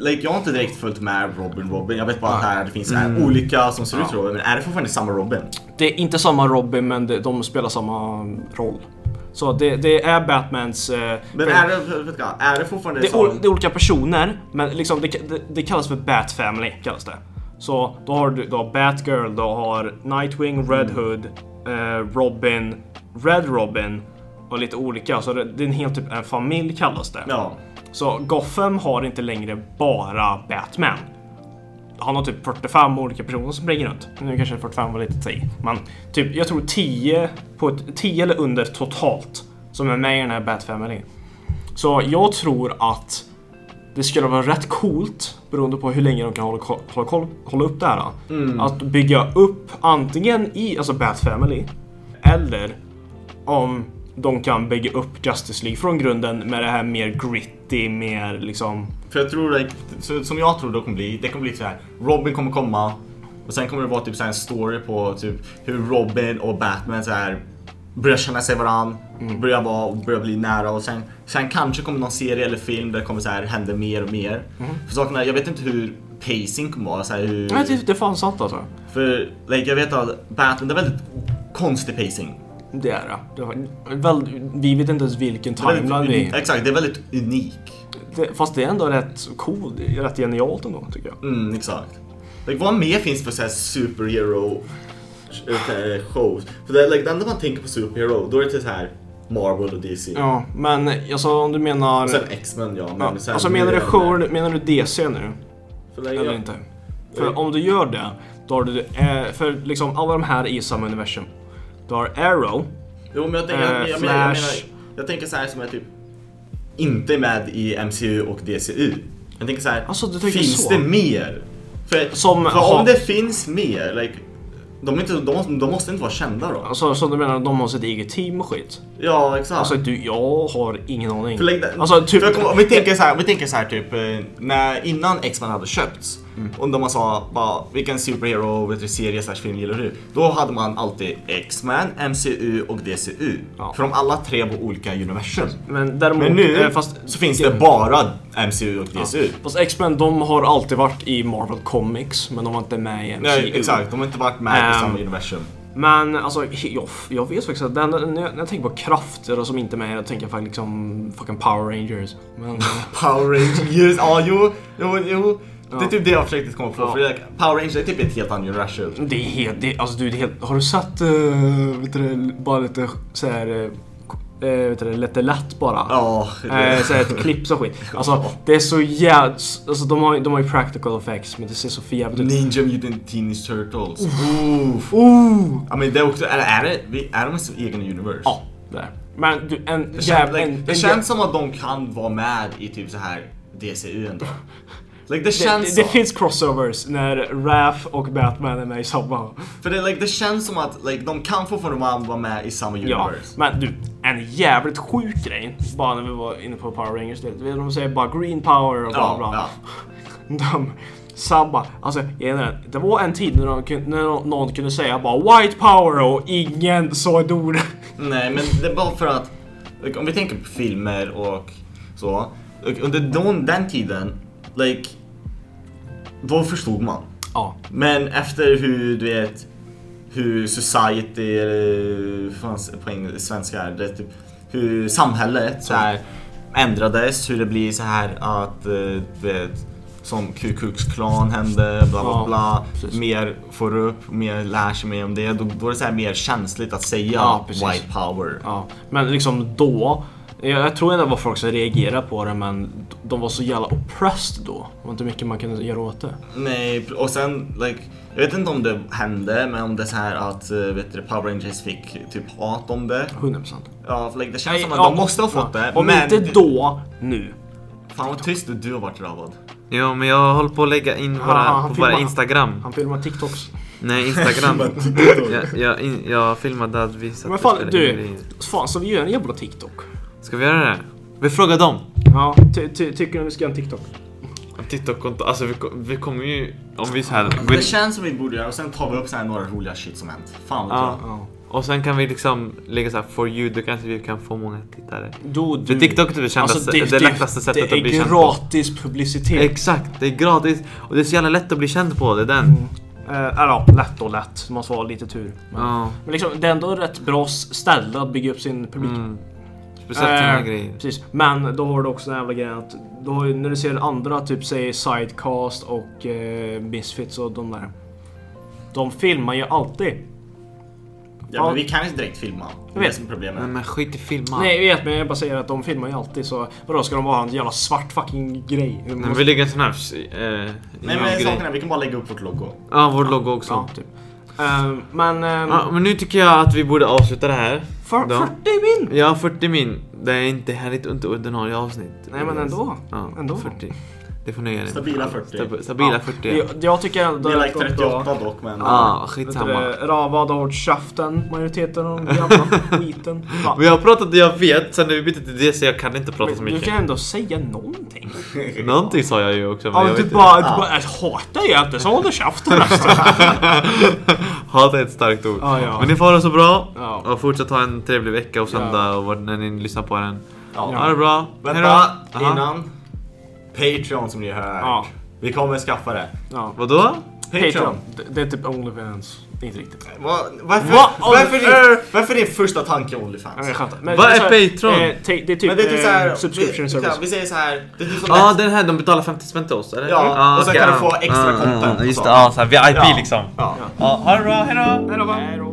[SPEAKER 3] like, jag har inte direkt följt med Robin Robin. Jag vet bara att här, det finns så
[SPEAKER 2] Mm.
[SPEAKER 3] här, olika som ser ut som Robin. Men är det fortfarande samma Robin?
[SPEAKER 2] Det är inte samma Robin men det, de spelar samma roll. Så det, det är Batmans... Eh,
[SPEAKER 3] Men
[SPEAKER 2] för-
[SPEAKER 3] är det, vet du vad, är det fortfarande
[SPEAKER 2] det, är
[SPEAKER 3] samma?
[SPEAKER 2] ol, det är olika personer men liksom det, det, det kallas för Bat Family. Kallas det. Så då har du då har Batgirl, då har
[SPEAKER 3] Mm.
[SPEAKER 2] Nightwing, Red Hood, eh, Robin, Red Robin och lite olika. Så det, det är en hel typ en familj kallas det.
[SPEAKER 3] Ja.
[SPEAKER 2] Så Gotham har inte längre bara Batman. Han har typ 45 olika personer som springer runt. Nu kanske 45 var lite att ta i. Men typ, jag tror 10, på ett, 10 eller under totalt som är med i den här Bat-familjen. Så jag tror att det skulle vara rätt coolt, beroende på hur länge de kan hålla, ko- hålla, koll- hålla upp det här. Att bygga upp antingen i alltså Bat Family, eller om de kan bygga upp Justice League från grunden med det här mer gritty, mer liksom...
[SPEAKER 3] För jag tror, like, så- som jag tror det kommer bli, det kommer bli så här. Robin kommer komma och sen kommer det vara typ så här en story på typ hur Robin och Batman så här börjar känna sig varann, börjar, vara, börjar bli nära och sen, sen kanske kommer någon serie eller film där det kommer så här hända mer och mer. För saken är, jag vet inte hur pacing kommer vara. Så här, hur,
[SPEAKER 2] Nej, det, det är fan sant alltså.
[SPEAKER 3] för like, jag vet att Batman, det är väldigt konstig pacing.
[SPEAKER 2] Det är det. det. var- Väl, vi vet inte ens vilken
[SPEAKER 3] Det är väldigt
[SPEAKER 2] timeline vi...
[SPEAKER 3] unik- Exakt, det är väldigt unik.
[SPEAKER 2] Det, fast det är ändå rätt cool, rätt genialt ändå tycker jag.
[SPEAKER 3] Mm, exakt. Like, vad mer finns för så här superhero eh, shows? För det, är, like, det enda man tänker på superhero, då är det till så här Marvel och DC.
[SPEAKER 2] Ja, men alltså om du menar...
[SPEAKER 3] Och sen X-Men ja. Men
[SPEAKER 2] Ja,
[SPEAKER 3] sen
[SPEAKER 2] alltså menar du
[SPEAKER 3] mer-
[SPEAKER 2] show, menar du DC nu?
[SPEAKER 3] För like,
[SPEAKER 2] Eller
[SPEAKER 3] ja.
[SPEAKER 2] inte? För om du gör det, då har du... Eh, för liksom alla de här är i samma universum. Du har Arrow,
[SPEAKER 3] Jo, men jag tänker, jag,
[SPEAKER 2] Eh,
[SPEAKER 3] jag, menar, jag, menar,
[SPEAKER 2] Flash.
[SPEAKER 3] jag tänker så här som är typ inte med i MCU och DCU. Jag tänker så här,
[SPEAKER 2] Alltså, du tänker
[SPEAKER 3] finns
[SPEAKER 2] så?
[SPEAKER 3] det mer? För,
[SPEAKER 2] Som-
[SPEAKER 3] för
[SPEAKER 2] ha-
[SPEAKER 3] om det finns mer, like, de, är inte, de, de måste inte vara kända då.
[SPEAKER 2] alltså så du menar de har sitt eget team och skit?
[SPEAKER 3] Ja, exakt.
[SPEAKER 2] Alltså du, jag har ingen aning.
[SPEAKER 3] För lägg den-
[SPEAKER 2] Alltså typ...
[SPEAKER 3] för jag kommer- om vi tänker så här, om vi tänker så här typ eh, när, innan X-Men hade köpts.
[SPEAKER 2] Mm.
[SPEAKER 3] Och då man sa bara, vilken superhero vet du, serie slash film gillar du? Då hade man alltid X-Men, MCU och DCU.
[SPEAKER 2] Ja.
[SPEAKER 3] För de alla tre var olika universum.
[SPEAKER 2] Men däremot...
[SPEAKER 3] Men nu
[SPEAKER 2] eh, fast,
[SPEAKER 3] så finns det bara MCU och DCU.
[SPEAKER 2] fast X-Men de har alltid varit i Marvel Comics, men de var inte med i MCU.
[SPEAKER 3] Nej, Eh, exakt, de har inte varit med i
[SPEAKER 2] Ehm.
[SPEAKER 3] samma universum.
[SPEAKER 2] Men alltså, he- jag, f- jag vet faktiskt att den, när, jag, när jag tänker på krafter och som inte är med, jag tänker jag faktiskt liksom fucking Power Rangers. Men, eh,
[SPEAKER 3] Power Rangers, ja jo, jo, jo. Det är typ det jag försökte komma på.
[SPEAKER 2] Ja.
[SPEAKER 3] För det är, Power Rangers är typ ett helt annat universum.
[SPEAKER 2] det är helt, det, alltså du, det är helt, har du sett, eh, vet du det, bara lite såhär, uh, vet du det, lite lätt bara?
[SPEAKER 3] Ja, det-
[SPEAKER 2] Eh, såhär, ett klipp och skit. Alltså det är så jävla... Alltså de har, ju- de har ju practical effects men det ser så för jävligt ut.
[SPEAKER 3] Ninja Mutant Teenage Turtles. Oof.
[SPEAKER 2] Ooh!
[SPEAKER 3] Ja men det är också, är, är, det, vi- är de i sin egen universe?
[SPEAKER 2] Ja, där. Men du, en
[SPEAKER 3] Det, känns,
[SPEAKER 2] jävla...
[SPEAKER 3] like,
[SPEAKER 2] en-
[SPEAKER 3] det
[SPEAKER 2] en
[SPEAKER 3] känns som att de kan vara med i typ så här DCU ändå. Like det känns
[SPEAKER 2] det,
[SPEAKER 3] så.
[SPEAKER 2] det finns crossovers när Raph och Batman är med i samma.
[SPEAKER 3] För det, like, det känns som att like, de kan fortfarande vara med i samma
[SPEAKER 2] Ja,
[SPEAKER 3] universe.
[SPEAKER 2] men du, en jävligt sjuk grej. Bara när vi var inne på Power Rangers. det- De säger bara green power och bla bla.
[SPEAKER 3] ja.
[SPEAKER 2] De, sabba. Alltså, grejen är, det var en tid när, de, kun- när någon kunde säga bara white power och ingen sa ett ord.
[SPEAKER 3] Nej, men det är bara för att like, om vi tänker på filmer och så. Like, under den, den tiden, like, då förstod man.
[SPEAKER 2] Ja.
[SPEAKER 3] Men efter hur du vet hur society, eller hur fanns det på eng- svenska är det typ hur samhället så här ändrades, hur det blir så här att eh, du vet som Ku Klux Klan hände, bla bla
[SPEAKER 2] Ja,
[SPEAKER 3] bla.
[SPEAKER 2] precis.
[SPEAKER 3] Mer får upp, mer lär sig mer om det. Då, då är det så här mer känsligt att säga
[SPEAKER 2] Ja, precis.
[SPEAKER 3] white power.
[SPEAKER 2] Ja, men liksom då. Jag, jag tror ändå det var folk som reagerade på det men de var så jävla oppressed då. Det var inte mycket man kunde göra åt det.
[SPEAKER 3] Nej, och sen like, jag vet inte om det hände, men om det är så här att eh, vet du, Power Rangers fick typ hat om det.
[SPEAKER 2] 100%.
[SPEAKER 3] Ja, för, like, det känns som att
[SPEAKER 2] ja,
[SPEAKER 3] de måste ha fått
[SPEAKER 2] ja.
[SPEAKER 3] det.
[SPEAKER 2] Om
[SPEAKER 3] men
[SPEAKER 2] inte då, nu.
[SPEAKER 3] Fan vad tyst du har varit drabbad.
[SPEAKER 1] Jo, men jag håller på att lägga in våra,
[SPEAKER 2] Ah, han
[SPEAKER 1] på våra
[SPEAKER 2] filmar.
[SPEAKER 1] Instagram.
[SPEAKER 2] Han filmar TikToks.
[SPEAKER 1] Nej, Instagram. jag, jag, in, jag filmade att vi satt
[SPEAKER 2] Men
[SPEAKER 1] och
[SPEAKER 2] fan,
[SPEAKER 1] spelade
[SPEAKER 2] du.
[SPEAKER 1] in grejer.
[SPEAKER 2] Fan, så vi gör en jävla TikTok.
[SPEAKER 1] Ska vi göra det? Vi frågar dem.
[SPEAKER 2] Ja, ty, ty, tycker ni vi ska göra en TikTok?
[SPEAKER 1] TikTok-konto, alltså vi, ko- vi kommer ju... Om vi så här,
[SPEAKER 3] Det
[SPEAKER 1] vi,
[SPEAKER 3] känns som vi borde göra och sen tar vi upp så här några roliga shit som hänt. Fan vad
[SPEAKER 1] Ja.
[SPEAKER 3] bra.
[SPEAKER 2] Ja.
[SPEAKER 1] Och sen kan vi liksom lägga så här for you, då kanske vi kan få många tittare.
[SPEAKER 2] Då, du,
[SPEAKER 1] För TikTok är typ det kändaste,
[SPEAKER 2] Alltså,
[SPEAKER 1] det, lättaste sättet
[SPEAKER 2] det
[SPEAKER 1] att bli
[SPEAKER 2] är
[SPEAKER 1] känd på.
[SPEAKER 2] gratis publicitet.
[SPEAKER 1] Exakt, det är gratis och det är så jävla lätt att bli känd på, det är den.
[SPEAKER 2] Eh, Eller ja, lätt och lätt. Måste vara lite tur. Men,
[SPEAKER 1] Ja,
[SPEAKER 2] men liksom, det är ändå ett rätt bra ställe att bygga upp sin publik.
[SPEAKER 1] mm. Speciellt såna här
[SPEAKER 2] Eh,
[SPEAKER 1] grejer.
[SPEAKER 2] Precis. Men då har du också den jävla grejen att då, har ju- när du ser andra, typ säg Sidecast och eh, Misfits och de där. De filmar ju alltid.
[SPEAKER 3] Ja, men vi kan inte direkt filma.
[SPEAKER 2] Jag
[SPEAKER 3] Det är det
[SPEAKER 2] vet. Mm.
[SPEAKER 3] som är
[SPEAKER 1] Men,
[SPEAKER 3] problemet.
[SPEAKER 1] men skit i filma.
[SPEAKER 2] Nej, jag vet men jag bara säger att de filmar ju alltid så vadå ska de bara ha en jävla svart fucking grej? De
[SPEAKER 1] Men
[SPEAKER 2] måste-
[SPEAKER 1] vi lägger en sån här... Eh,
[SPEAKER 3] Nej
[SPEAKER 1] grej.
[SPEAKER 3] men saken är, vi kan bara lägga upp vårt logo.
[SPEAKER 1] Ja, vår logo också.
[SPEAKER 2] Ja,
[SPEAKER 1] Ja.
[SPEAKER 2] typ. Ehm, men... ehm,
[SPEAKER 1] men nu tycker jag att vi borde avsluta det här.
[SPEAKER 2] för,
[SPEAKER 1] då.
[SPEAKER 2] 40 min!
[SPEAKER 1] Ja, 40 min. Det är inte härligt inte ordinarie avsnitt.
[SPEAKER 2] Nej men ändå.
[SPEAKER 1] Ja,
[SPEAKER 2] ändå.
[SPEAKER 1] 40. Det får nöja dig med.
[SPEAKER 3] Stabila 40.
[SPEAKER 1] Stab- Stabila
[SPEAKER 2] Ja.
[SPEAKER 1] 40. Ja,
[SPEAKER 2] Jag, jag tycker ändå
[SPEAKER 3] Det är
[SPEAKER 2] att
[SPEAKER 3] like
[SPEAKER 2] gått bra.
[SPEAKER 3] 38 dock men...
[SPEAKER 1] ah,
[SPEAKER 2] Vet du
[SPEAKER 1] skitsamma.
[SPEAKER 2] det, Ravad har hållit käften, majoriteten av den jävla skiten. Ja.
[SPEAKER 1] Vi har pratat det jag vet, sen när vi bytte till det så jag kan inte prata så
[SPEAKER 2] Men du
[SPEAKER 1] mycket.
[SPEAKER 2] kan ändå säga någonting.
[SPEAKER 1] Någonting sa jag ju också men
[SPEAKER 2] Ja,
[SPEAKER 1] jag
[SPEAKER 2] du
[SPEAKER 1] vet
[SPEAKER 2] bara, du bara, jag hatar ju att du så håller käften.
[SPEAKER 1] inte. Hat är ett starkt ord.
[SPEAKER 2] Ja, ja.
[SPEAKER 1] Men ni får ha det så bra
[SPEAKER 2] Ja.
[SPEAKER 1] och fortsätt ha en trevlig vecka och söndag och vad- när ni lyssnar på den.
[SPEAKER 3] Ja.
[SPEAKER 1] Ha det bra.
[SPEAKER 3] Vänta,
[SPEAKER 1] Hejdå. Aha.
[SPEAKER 3] innan. Patreon som ni hör.
[SPEAKER 2] Ja.
[SPEAKER 3] Vi kommer skaffa det.
[SPEAKER 2] Ja.
[SPEAKER 1] Vadå?
[SPEAKER 3] Patreon.
[SPEAKER 2] Patreon. Det, det är typ Onlyfans. Inte riktigt.
[SPEAKER 3] Va, varför,
[SPEAKER 2] What on
[SPEAKER 3] varför, är,
[SPEAKER 2] earth?
[SPEAKER 3] varför är din första tanke
[SPEAKER 2] Ja,
[SPEAKER 3] Onlyfans?
[SPEAKER 2] jag skämtar. Men
[SPEAKER 1] Vad
[SPEAKER 2] det
[SPEAKER 1] är
[SPEAKER 2] så här,
[SPEAKER 1] Patreon?
[SPEAKER 2] eh, ta- det är typ,
[SPEAKER 3] Alltså. Men det är typ såhär,
[SPEAKER 2] eh, subscription
[SPEAKER 3] vi,
[SPEAKER 2] service.
[SPEAKER 3] vi säger såhär, det är typ som
[SPEAKER 1] Ja, ah,
[SPEAKER 3] Netflix.
[SPEAKER 1] den här de betalar 50 spänn till oss eller?
[SPEAKER 3] Ja, och sen
[SPEAKER 1] okej,
[SPEAKER 3] kan du
[SPEAKER 1] ah.
[SPEAKER 3] få extra
[SPEAKER 1] Ah, ah,
[SPEAKER 3] content och
[SPEAKER 1] Just det,
[SPEAKER 3] så.
[SPEAKER 1] ja, såhär VIP
[SPEAKER 3] Ja.
[SPEAKER 1] liksom.
[SPEAKER 3] Ja.
[SPEAKER 1] Ja, ha det bra, hejdå!
[SPEAKER 2] Hej då.